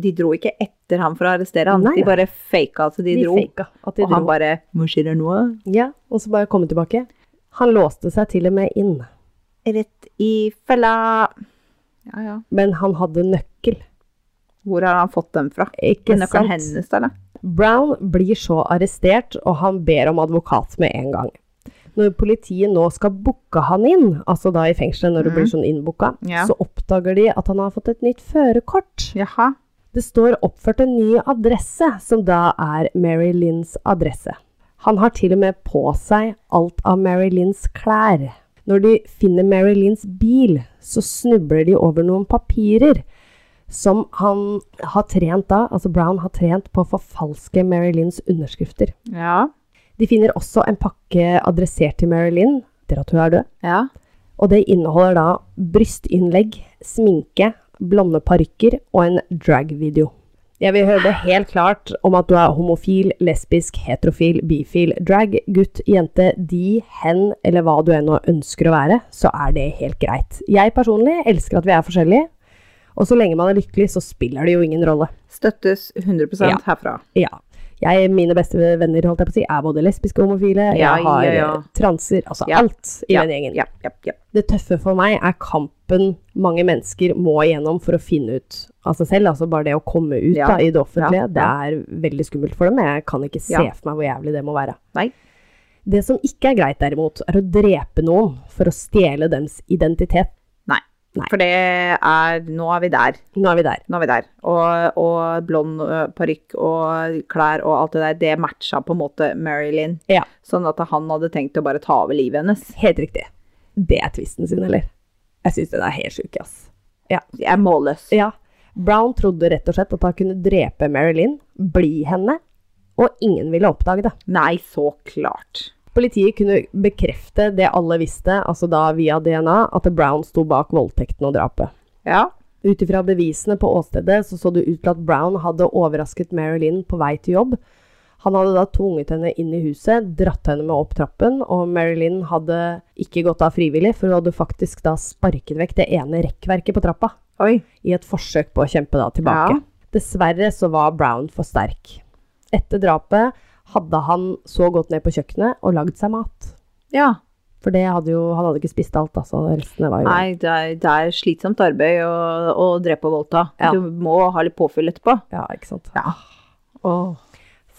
S2: De dro ikke etter ham for å arrestere ham.
S1: Nei,
S2: De
S1: nei.
S2: bare faka at de,
S1: de
S2: dro.
S1: faka at de
S2: og han
S1: dro.
S2: bare Hva skjer her nå?
S1: Ja, og så bare kom han tilbake. Han låste seg til og med inn,
S2: Rett i fella. Ja, ja.
S1: men han hadde nøkkel.
S2: Hvor har han fått dem fra?
S1: Ikke sant?
S2: Nøkkelen hennes, da? eller?
S1: Brown blir så arrestert, og han ber om advokat med en gang. Når politiet nå skal booke han inn, altså da i fengselet når du blir sånn innbooka,
S2: Ja.
S1: så oppdager de at han har fått et nytt førerkort.
S2: Jaha.
S1: Det står oppført en ny adresse, som da er Mary Lynns adresse. Han har til og med på seg alt av Mary Lynns klær. Når de finner Mary Lynns bil, så snubler de over noen papirer som han har trent da, altså Brown har trent på å forfalske Mary Lynns underskrifter.
S2: Ja.
S1: De finner også en pakke adressert til Mary Lynn, etter at hun er død.
S2: Ja.
S1: Og det inneholder da brystinnlegg, sminke, blonde parykker og en dragvideo. Jeg vil høre det helt klart om at du er homofil, lesbisk, heterofil, bifil, drag, gutt, jente, de, hen eller hva du ennå ønsker å være, så er det helt greit. Jeg personlig elsker at vi er forskjellige, og så lenge man er lykkelig, så spiller det jo ingen rolle.
S2: Støttes 100
S1: Ja.
S2: herfra.
S1: Ja. Jeg, mine beste venner holdt jeg på å si, er både lesbiske og homofile.
S2: Ja,
S1: jeg har
S2: ja, ja.
S1: eh, transer, altså
S2: Ja,
S1: alt i den gjengen.
S2: Ja, ja, ja.
S1: Det tøffe for meg er kampen mange mennesker må igjennom for å finne ut av seg selv. Altså bare det å komme ut
S2: Ja,
S1: da, i det offentlige.
S2: ja,
S1: Det er veldig skummelt for dem. Jeg kan ikke se
S2: Ja.
S1: for meg hvor jævlig det må være.
S2: Nei.
S1: Det som ikke er greit, derimot, er å drepe noen for å stjele dems identitet.
S2: Nei.
S1: Nei.
S2: For det er Nå er vi der.
S1: Nå er vi der.
S2: Nå er vi der. Og, og blond ø, parykk og klær og alt det der, det matcha på en måte Marilyn.
S1: Ja.
S2: Sånn at han hadde tenkt å bare ta over livet hennes.
S1: Helt riktig. Det er tvisten sin, eller? Jeg syns den er helt sjuk, ass.
S2: Jeg er målløs.
S1: Ja. Brown trodde rett og slett at han kunne drepe Marilyn, bli henne, og ingen ville oppdage det.
S2: Nei, så klart.
S1: Politiet kunne bekrefte det alle visste, altså da via DNA, at Brown sto bak voldtekten og drapet.
S2: Ja.
S1: Ut ifra bevisene på åstedet så, så det ut til at Brown hadde overrasket Marilyn på vei til jobb. Han hadde da tvunget henne inn i huset, dratt henne med opp trappen, og Marilyn hadde ikke gått av frivillig, for hun hadde faktisk da sparket vekk det ene rekkverket på trappa
S2: Oi.
S1: i et forsøk på å kjempe da tilbake.
S2: Ja.
S1: Dessverre så var Brown for sterk. Etter drapet hadde han så gått ned på kjøkkenet og lagd seg mat.
S2: Ja.
S1: For det hadde jo, han hadde ikke spist alt, altså. Restene var jo
S2: Nei, det er, det er slitsomt arbeid å, å drepe og voldta.
S1: Ja.
S2: Du må ha litt påfyll etterpå.
S1: Ja, ikke sant.
S2: Åh.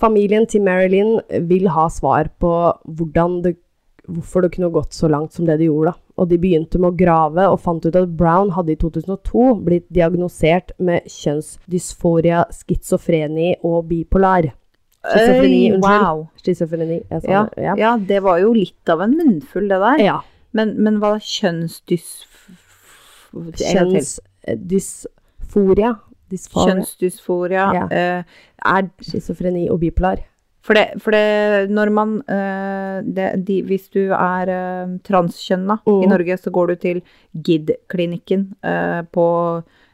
S1: Familien til Marilyn vil ha svar på hvordan det, hvorfor det kunne gått så langt som det det gjorde. da. Og de begynte med å grave og fant ut at Brown hadde i 2002 blitt diagnosert med kjønnsdysforia, schizofreni og bipolar. Schizofreni,
S2: Øy,
S1: unnskyld.
S2: Wow.
S1: Schizofreni. Jeg sa
S2: Ja,
S1: det,
S2: ja. det var jo litt av en munnfull, det der.
S1: Ja.
S2: Men, men hva kjønnsdysf... en gang til.
S1: Kjønnsdysforia. Dysfare.
S2: Kjønnsdysforia.
S1: Ja.
S2: eh, er,
S1: Schizofreni og bipolar.
S2: for, det, for det når man eh, det, de, Hvis du er uh, transkjønna
S1: Mm.
S2: i Norge, så går du til GID-klinikken eh, på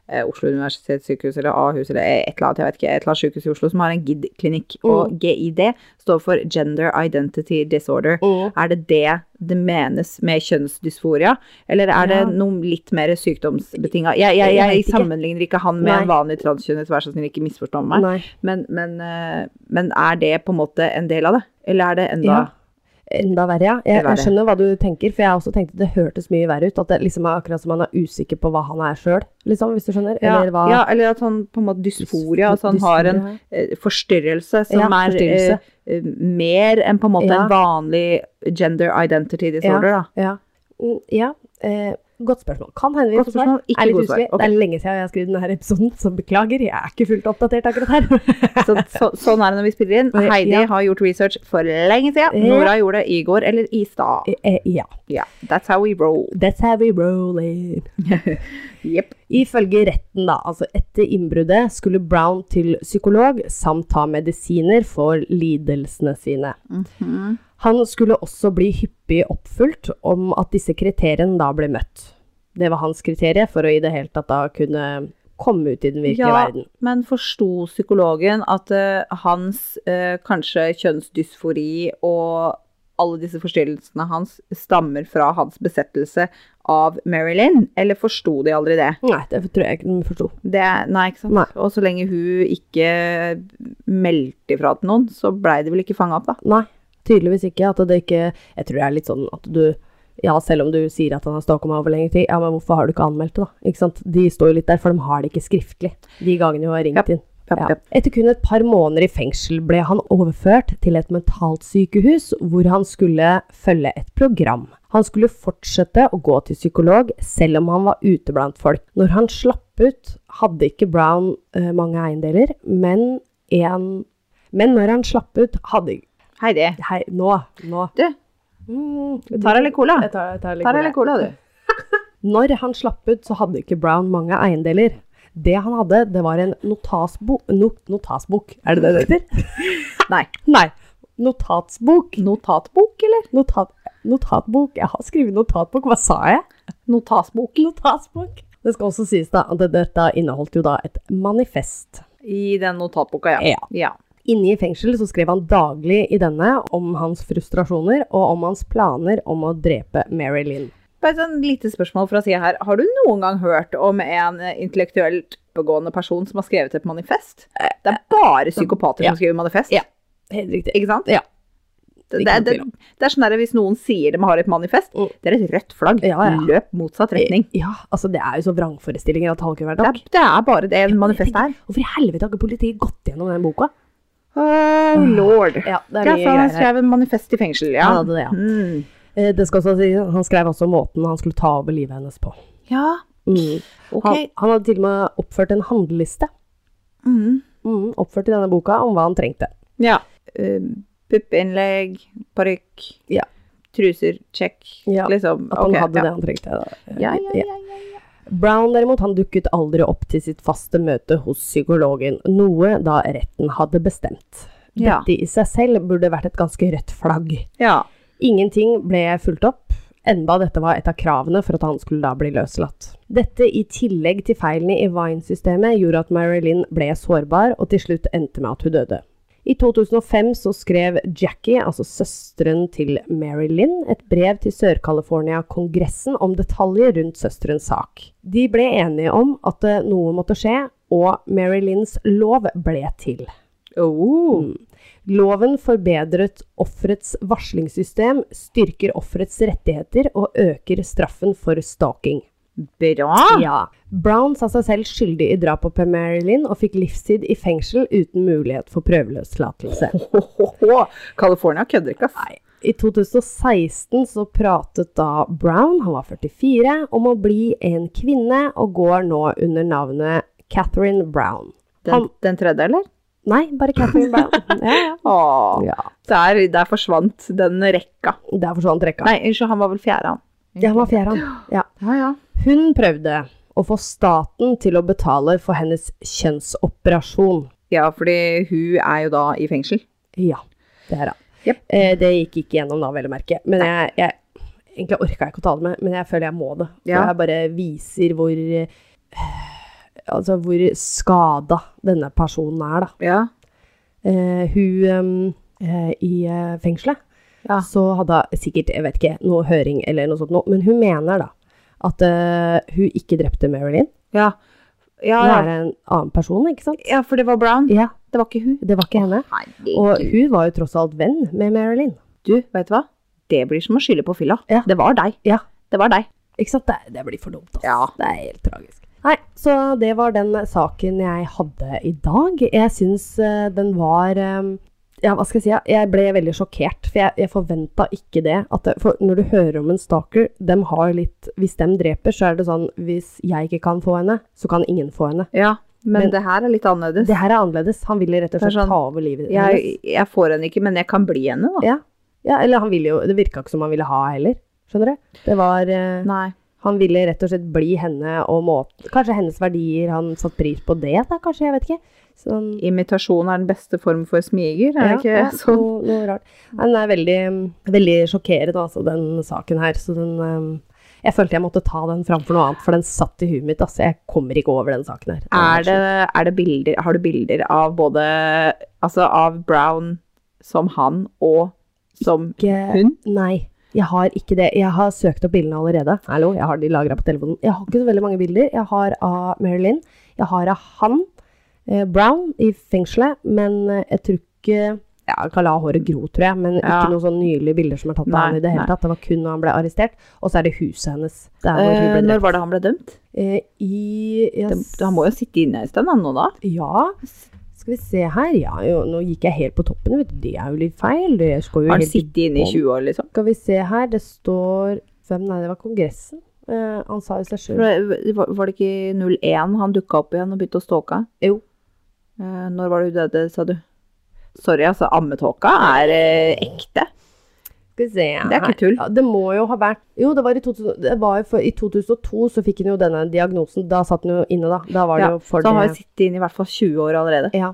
S2: eh, Oslo universitetssykehus eller Ahus eller et eller annet, jeg vet ikke, et eller annet sykehus i Oslo som har en GID-klinikk. Og
S1: Mm.
S2: GID står for Gender Identity Disorder. Er det det det menes med kjønnsdysforia, eller
S1: Ja.
S2: er det noe litt mer sykdomsbetinga? Jeg, jeg, jeg,
S1: Jeg vet ikke.
S2: sammenligner ikke han med
S1: Nei.
S2: en vanlig transkjønnet, vær så snill, ikke misforstå meg.
S1: Nei.
S2: Men, men, eh, men er det på en måte en del av det, eller er det enda
S1: Ja. Enda verre, ja. Jeg,
S2: Verre.
S1: jeg skjønner hva du tenker, for jeg også tenkte det hørtes mye verre ut. At det liksom er akkurat som han er usikker på hva han er sjøl, liksom, hvis du skjønner.
S2: ja,
S1: Eller hva
S2: ja, eller at han på en måte dysforia, at han har en eh, forstyrrelse som
S1: Ja,
S2: er eh,
S1: forstyrrelse.
S2: eh, mer enn på en måte
S1: Ja.
S2: en vanlig gender identity disorder, da.
S1: Ja. Mm, ja. Eh, godt spørsmål. Kan hende vi
S2: Godt
S1: får svar.
S2: spørsmål, ikke
S1: Er litt
S2: godt svar.
S1: usikker.
S2: Ok.
S1: Det er lenge siden jeg har skrevet denne her episoden, så beklager. Jeg er ikke fullt oppdatert akkurat her.
S2: Så, så, sånn er det når vi spiller inn.
S1: Ja.
S2: Heidi har gjort research for lenge siden.
S1: Ja.
S2: Nora gjorde det i går eller i stad.
S1: Eh, eh, ja.
S2: Ja, that's how we roll.
S1: That's how we roll it.
S2: Jepp.
S1: Ifølge retten, da, altså etter innbruddet, skulle Brown til psykolog samt ta medisiner for lidelsene sine. Han skulle også bli hyppig oppfulgt om at disse kriteriene da ble møtt. Det var hans kriterier for å i det hele tatt da kunne komme ut i den virkelige
S2: Ja,
S1: verden.
S2: men forsto psykologen at eh, hans eh, kanskje kjønnsdysfori og alle disse forstyrrelsene hans stammer fra hans besettelse av Marilyn, eller forsto de aldri det?
S1: Nei, det tror jeg ikke de forsto.
S2: det nei, ikke sant?
S1: Nei.
S2: Og så lenge hun ikke meldte ifra til noen, så blei det vel ikke fanga opp, da.
S1: Nei, tydeligvis ikke. At det ikke Jeg tror det er litt sånn at du Ja, selv om du sier at han har stalka meg over lengre tid, ja, men hvorfor har du ikke anmeldt det, da? Ikke sant? De står jo litt der, for de har det ikke skriftlig, de gangene hun har ringt
S2: Japp,
S1: inn.
S2: japp,
S1: Ja.
S2: japp.
S1: Etter kun et par måneder i fengsel ble han overført til et mentalt sykehus, hvor han skulle følge et program. Han skulle fortsette å gå til psykolog, selv om han var ute blant folk. Når han slapp ut, hadde ikke Brown eh, mange eiendeler, men en Men når han slapp ut, hadde
S2: Heidi,
S1: Hei, nå. nå.
S2: du,
S1: Mm,
S2: tar deg litt cola?
S1: Jeg tar, jeg tar litt
S2: Tar deg
S1: cola.
S2: litt cola, du.
S1: Når han slapp ut, så hadde ikke Brown mange eiendeler. Det han hadde, det var en notasbo, no, notasbok. Er det det det heter?
S2: Nei.
S1: Nei. Notatsbok.
S2: Notatbok, eller?
S1: Notat, notatbok. Jeg har skrevet notatbok. Hva sa jeg?
S2: Notasbok.
S1: Notasbok. Det skal også sies da at dette inneholdt jo da et manifest.
S2: I den notatboka, ja.
S1: Ja. Inne i fengsel så skrev han daglig i denne om hans frustrasjoner og om hans planer om å drepe Marilyn.
S2: Bare et sånn lite spørsmål fra sida her. Har du noen gang hørt om en eh, intellektuelt oppegående person som har skrevet et manifest? Det er bare psykopater
S1: Eh, ja.
S2: som skriver manifest.
S1: Ja. Helt riktig.
S2: Ikke sant?
S1: Ja. Ikke
S2: Det, det,
S1: noe
S2: det,
S1: tvil om.
S2: det er sånn der hvis noen sier de har et manifest,
S1: Mm.
S2: det er et rødt flagg.
S1: Ja, ja.
S2: Løp motsatt retning.
S1: Ja, altså det er jo så vrangforestillinger at det halker hver
S2: Det
S1: dag.
S2: er, det er bare det manifestet er.
S1: Hvorfor i helvete har ikke politiet gått gjennom den boka?
S2: Oh lord.
S1: Ah. Ja, det
S2: Ja, så han skrev en manifest i fengsel, ja.
S1: Han hadde det, ja.
S2: Mm.
S1: Eh, Det skal også sies, han skrev også måten han skulle ta over livet hennes på.
S2: ja.
S1: Mm.
S2: Ok.
S1: Han, han hadde til og med oppført en handleliste
S2: Mm.
S1: mm, oppført i denne boka om hva han trengte.
S2: Ja. eh, Puppeinnlegg, parykk,
S1: Ja.
S2: truser, check.
S1: Ja,
S2: Liksom.
S1: At han
S2: ok,
S1: hadde
S2: ja.
S1: det han trengte. da.
S2: Ja, ja,
S1: Ja.
S2: ja, ja, ja.
S1: Brown derimot, han dukket aldri opp til sitt faste møte hos psykologen, noe da retten hadde bestemt.
S2: Ja.
S1: Dette i seg selv burde vært et ganske rødt flagg.
S2: ja.
S1: Ingenting ble fulgt opp, enda dette var et av kravene for at han skulle da bli løslatt. Dette i tillegg til feilene i Vine-systemet gjorde at Marilyn ble sårbar, og til slutt endte med at hun døde. I 2005 så skrev Jackie, altså søsteren til Marilyn, et brev til Sør-California-kongressen om detaljer rundt søsterens sak. De ble enige om at eh, noe måtte skje, og Marilyns lov ble til.
S2: Oh.
S1: Mm. Loven forbedret offerets varslingssystem, styrker offerets rettigheter og øker straffen for stalking.
S2: Bra!
S1: Ja. Brown sa seg selv skyldig i drapet på Marilyn og fikk livstid i fengsel uten mulighet for prøveløslatelse.
S2: Ho, ho, ho. California kødder ikke, ass.
S1: Nei. I 2016 så pratet da Brown, han var 44, om å bli en kvinne og går nå under navnet Catherine Brown.
S2: Den, den tredje, eller?
S1: Nei, bare Catherine Brown. Ja, ja.
S2: Åh,
S1: ja.
S2: der, der forsvant den rekka.
S1: Der forsvant rekka.
S2: Nei, unnskyld, han var vel fjerde, han.
S1: Ja, han var fjerde, han. Ja.
S2: Ja, ja.
S1: Hun prøvde å få staten til å betale for hennes kjønnsoperasjon.
S2: Ja, fordi hun er jo da i fengsel.
S1: Ja, det er han.
S2: Jep.
S1: Eh, det gikk ikke gjennom da, vel å merke. Men jeg, jeg egentlig orka jeg ikke å ta det med, men jeg føler jeg må det. For
S2: Ja.
S1: jeg bare viser hvor eh, Altså hvor skada denne personen er, da.
S2: Ja.
S1: Eh, hun em, eh, i eh, fengselet,
S2: Ja.
S1: så hadde hun sikkert, jeg vet ikke, noe høring eller noe sånt noe, men hun mener da at eh, hun ikke drepte Marilyn.
S2: Ja, ja,
S1: Hun er
S2: ja.
S1: en annen person, ikke sant?
S2: ja for det var Brown.
S1: Ja,
S2: Det var ikke hun.
S1: det var ikke henne. Og
S2: Herregud.
S1: hun var jo tross alt venn med Marilyn.
S2: Du, vet du hva? Det blir som å skylde på fylla.
S1: Ja.
S2: Det var deg.
S1: Ja.
S2: Det var deg.
S1: Ikke sant? Det, det blir for dumt, altså.
S2: Ja.
S1: Det er helt tragisk. Nei, så det var den saken jeg hadde i dag. Jeg syns eh, den var eh, Ja, hva skal jeg si? ja, Jeg ble veldig sjokkert, for jeg, jeg forventa ikke det. At det. For når du hører om en stalker, dem har litt Hvis dem dreper, så er det sånn Hvis jeg ikke kan få henne, så kan ingen få henne.
S2: Ja, men,
S1: Men-
S2: det her er litt annerledes.
S1: Det her er annerledes. Han ville rett og
S2: Det er
S1: slett
S2: sånn,
S1: ta over livet
S2: Jeg,
S1: hennes.
S2: jeg får henne ikke, men jeg kan bli henne, da.
S1: Ja. Ja, eller han ville jo Det virka ikke som han ville ha heller. Skjønner du? Det var eh,
S2: Nei.
S1: Han ville rett og slett bli henne og måte Kanskje hennes verdier, han satt pris på det, da, kanskje? Jeg vet ikke. Sånn,
S2: Imitasjon er den beste form for smiger, er det
S1: ja,
S2: ikke
S1: ja,
S2: sånn?
S1: Noe, noe rart. Nei, Den er veldig, veldig sjokkerende, altså, den saken her. Så den ehm, Jeg følte jeg måtte ta den framfor noe annet, for den satt i huet mitt. Altså, jeg kommer ikke over den saken her.
S2: Er det, er det bilder, har du bilder av både Altså av Brown som han og som
S1: ikke
S2: hun?
S1: Nei. Jeg har ikke det. Jeg har søkt opp bildene allerede. Hallo, jeg har de lagra på telefonen. Jeg har ikke så veldig mange bilder. Jeg har av Marilyn. Jeg har av han, eh, Brown, i fengselet. Men eh, jeg tror ikke ja, Jeg kan la håret gro, tror jeg, men
S2: Ja.
S1: ikke noen sånn nylige bilder som er tatt av
S2: Nei,
S1: han i det hele
S2: nei.
S1: tatt. Det var kun når han ble arrestert. Og så er det huset hennes. Der hvor
S2: Eh,
S1: hun ble
S2: når
S1: drept.
S2: var det han ble dømt?
S1: Eh, I jeg,
S2: Det, han må jo sitte inne en stund, han nå da?
S1: Ja. Skal vi se her. Ja, jo, nå gikk jeg helt på toppen, vet du. Det er jo litt feil. Det skal jo
S2: Har han
S1: helt i
S2: sittet inne i
S1: bånd.
S2: 20 år, liksom?
S1: Skal vi se her, det står Hvem, nei, det var Kongressen. Eh, han sa jo seg
S2: For
S1: sjøl.
S2: det- Var, var det ikke 01 han dukka opp igjen og begynte å stalke?
S1: Jo.
S2: Eh, når var det du døde, sa du? Sorry, altså, ammetåka er eh, ekte.
S1: Skal vi se
S2: Det er ikke tull.
S1: Ja, det må jo ha vært Jo, det var i, 2000, det var jo for, i 2002 så fikk hun jo denne diagnosen. Da satt hun jo inne, da. Da var det
S2: Ja,
S1: jo for
S2: så han har jo
S1: det
S2: sittet inne i hvert fall 20 år allerede.
S1: Ja.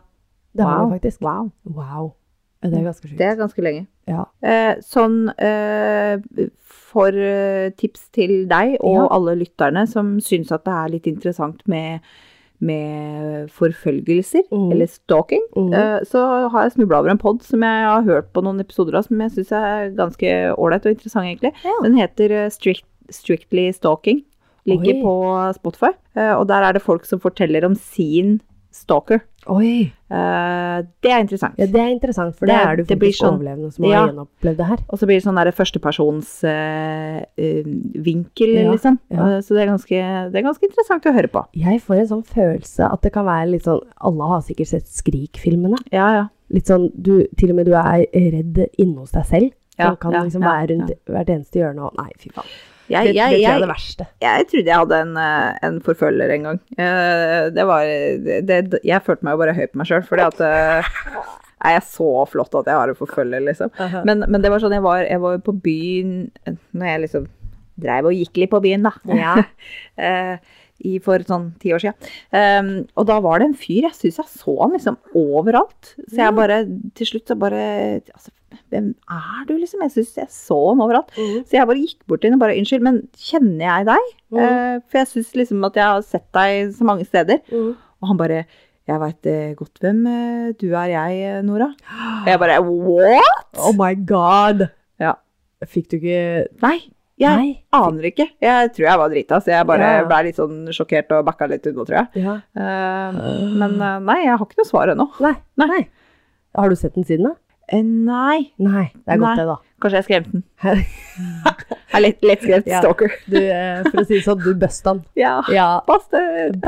S1: Det har
S2: Wow.
S1: hun faktisk.
S2: Wow.
S1: Wow. Ja, det er ganske sjukt.
S2: Det er ganske lenge.
S1: Ja.
S2: Eh, sånn eh, for eh, tips til deg og
S1: Ja.
S2: alle lytterne som syns at det er litt interessant med, med forfølgelser
S1: Mhm.
S2: eller stalking,
S1: Mhm.
S2: eh, så har jeg snubla over en pod som jeg har hørt på noen episoder av, som jeg syns er ganske ålreit og interessant, egentlig.
S1: Ja.
S2: Den heter eh, Strict, Strictly Stalking. Ligger
S1: Oi.
S2: på Spotify. eh, og der er det folk som forteller om sin stalker.
S1: Oi.
S2: Eh, det er interessant.
S1: Ja, det er interessant, for
S2: Det
S1: det,
S2: er-
S1: er det jo
S2: det blir
S1: faktisk
S2: sånn-
S1: overlevende som
S2: Ja.
S1: har gjenopplevd det her.
S2: Og så blir det sånn der førstepersons eh, eh, vinkel,
S1: Ja,
S2: liksom.
S1: ja.
S2: Eh, Så det er, ganske, det er ganske interessant å høre på.
S1: Jeg får en sånn følelse at det kan være litt sånn Alle har sikkert sett Skrik-filmene.
S2: Ja, ja.
S1: litt sånn, du, til og med du er redd inne hos deg selv.
S2: Ja,
S1: Man kan
S2: ja,
S1: liksom
S2: ja,
S1: være rundt hvert eneste hjørne og Nei, fy faen. Det,
S2: Jeg,
S1: det tror
S2: jeg,
S1: jeg er det
S2: jeg,
S1: verste.
S2: jeg trodde jeg hadde en, eh, en forfølger en gang. Eh, Det var det, det, Jeg følte meg jo bare høy på meg sjøl, fordi at eh, Er jeg så flott at jeg har en forfølger, liksom? Men, men det var sånn, jeg var, jeg var jo på byen eh, Når jeg liksom dreiv og gikk litt på byen, da.
S1: ja.
S2: eh, i, for sånn ti år siden. Ehm, og da var det en fyr, jeg syns jeg så han liksom overalt. Så jeg bare, til slutt så bare altså, Hvem er du, liksom? Jeg syns jeg så han overalt.
S1: Mhm.
S2: Så jeg bare gikk bort til han og bare Unnskyld, men kjenner jeg deg? Eh, for jeg syns liksom at jeg har sett deg så mange steder.
S1: Mhm.
S2: Og han bare Jeg veit godt hvem eh, du er, jeg, eh, Nora. Og jeg bare What?!
S1: Oh my god!
S2: Ja.
S1: Fikk du ikke
S2: Nei! Jeg
S1: Nei.
S2: aner ikke. Jeg tror jeg var drita, så jeg bare
S1: Ja, ja.
S2: ble litt sånn sjokkert og backa litt unna, tror jeg.
S1: Ja.
S2: Eh, Men eh, nei, jeg har ikke noe svar ennå.
S1: Nei. Nei. Har du sett den siden, da?
S2: Eh, Nei.
S1: Nei. Det er godt,
S2: Nei.
S1: det, da.
S2: Kanskje jeg skremte den. jeg er lett, lettskremt
S1: Ja.
S2: stalker.
S1: Du, eh, for å si det sånn, du busta den.
S2: Ja.
S1: Ja.
S2: Bastard.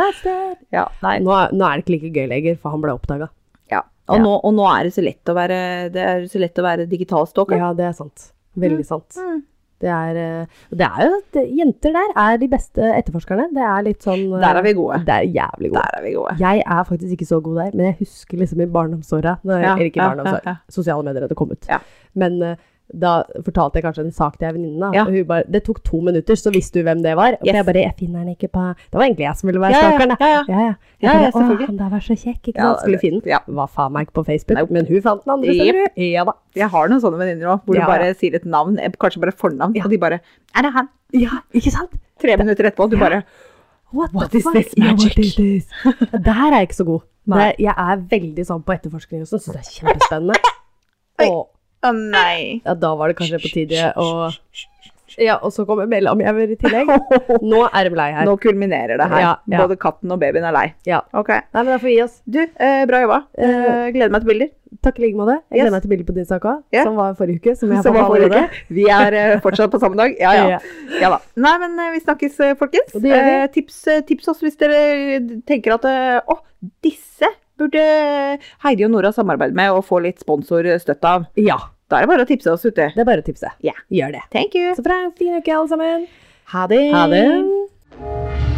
S2: Ja, nei.
S1: Nå, er- nå er det ikke like gøy lenger, for han ble oppdaga.
S2: Ja. Og,
S1: Ja.
S2: Nå, og nå er det så lett å være, det er så lett å være digital stalker.
S1: Ja, det er sant. Veldig sant.
S2: Mm.
S1: Det er, eh, det er jo at jenter der er de beste etterforskerne. Det er litt sånn eh,
S2: Der er vi gode.
S1: Det er jævlig god.
S2: Der er vi gode.
S1: Jeg er faktisk ikke så god der, men jeg husker liksom i barndomsåra når-
S2: Ja,
S1: Eller ikke i
S2: ja,
S1: barndomsåra.
S2: ja, ja.
S1: Sosiale medier hadde kommet.
S2: Ja.
S1: Men eh, Da fortalte jeg kanskje en sak til ei venninne. da.
S2: Ja.
S1: Og Hun bare, det tok to minutter, så visste hun hvem det var. Og
S2: Yes.
S1: jeg bare, jeg finner den ikke på Det var egentlig jeg som ville være
S2: Ja, ja,
S1: stalkeren, da.
S2: ja, ja.
S1: ja, ja. Jeg
S2: Ja,
S1: bare,
S2: ja,
S1: «Åh,
S2: selvfølgelig.
S1: Han der var så kjekk, ikke
S2: Ja,
S1: sant. Skulle
S2: det-
S1: finne den.
S2: ja.
S1: Var faen meg ikke på Facebook,
S2: Nei.
S1: men hun fant den andre steder. hun. Ja da.
S2: Jeg har noen sånne venninner òg, hvor
S1: Ja,
S2: du bare sier et navn, eh, kanskje bare fornavn,
S1: Ja.
S2: og de bare Er det han?
S1: Ja, ikke sant?
S2: Tre minutter etterpå, og du
S1: Ja.
S2: bare
S1: What,
S2: What
S1: the
S2: is
S1: fuck?
S2: this
S1: Ja, what
S2: magic?
S1: is this? Det her er jeg ikke så god. Det,
S2: Nei.
S1: jeg er veldig sånn på etterforskning og sånn, syns det er kjempespennende.
S2: Oi.
S1: Og
S2: Å nei.
S1: ja, da var det kanskje på tide å Ja, og så kommer mellomjevner i tillegg. Nå er de lei her.
S2: Nå kulminerer det her.
S1: Ja, ja.
S2: Både katten og babyen er lei.
S1: Ja.
S2: Ok.
S1: Nei, men da får vi gi oss.
S2: Du, eh, bra jobba. Eh, gleder meg til bilder.
S1: Takk i like måte. Jeg
S2: Yes.
S1: gleder meg til bildet på din sak òg,
S2: Ja.
S1: som var forrige uke. Som jeg
S2: Som var
S1: fant allerede.
S2: forrige uke. Vi er eh, fortsatt på samme dag. Ja, ja. ja da. Nei, men eh, vi snakkes, eh, folkens.
S1: Og det gjør vi.
S2: Eh, tips, eh, tips oss hvis dere tenker at eh, å, disse burde Heidi og Nora samarbeide med og få litt sponsorstøtte av.
S1: Ja.
S2: Da er det bare å tipse oss ute.
S1: Det er bare å tipse.
S2: Ja.
S1: Gjør det.
S2: Thank you.
S1: Så bra. Fin uke, alle sammen.
S2: Ha det.
S1: Ha det.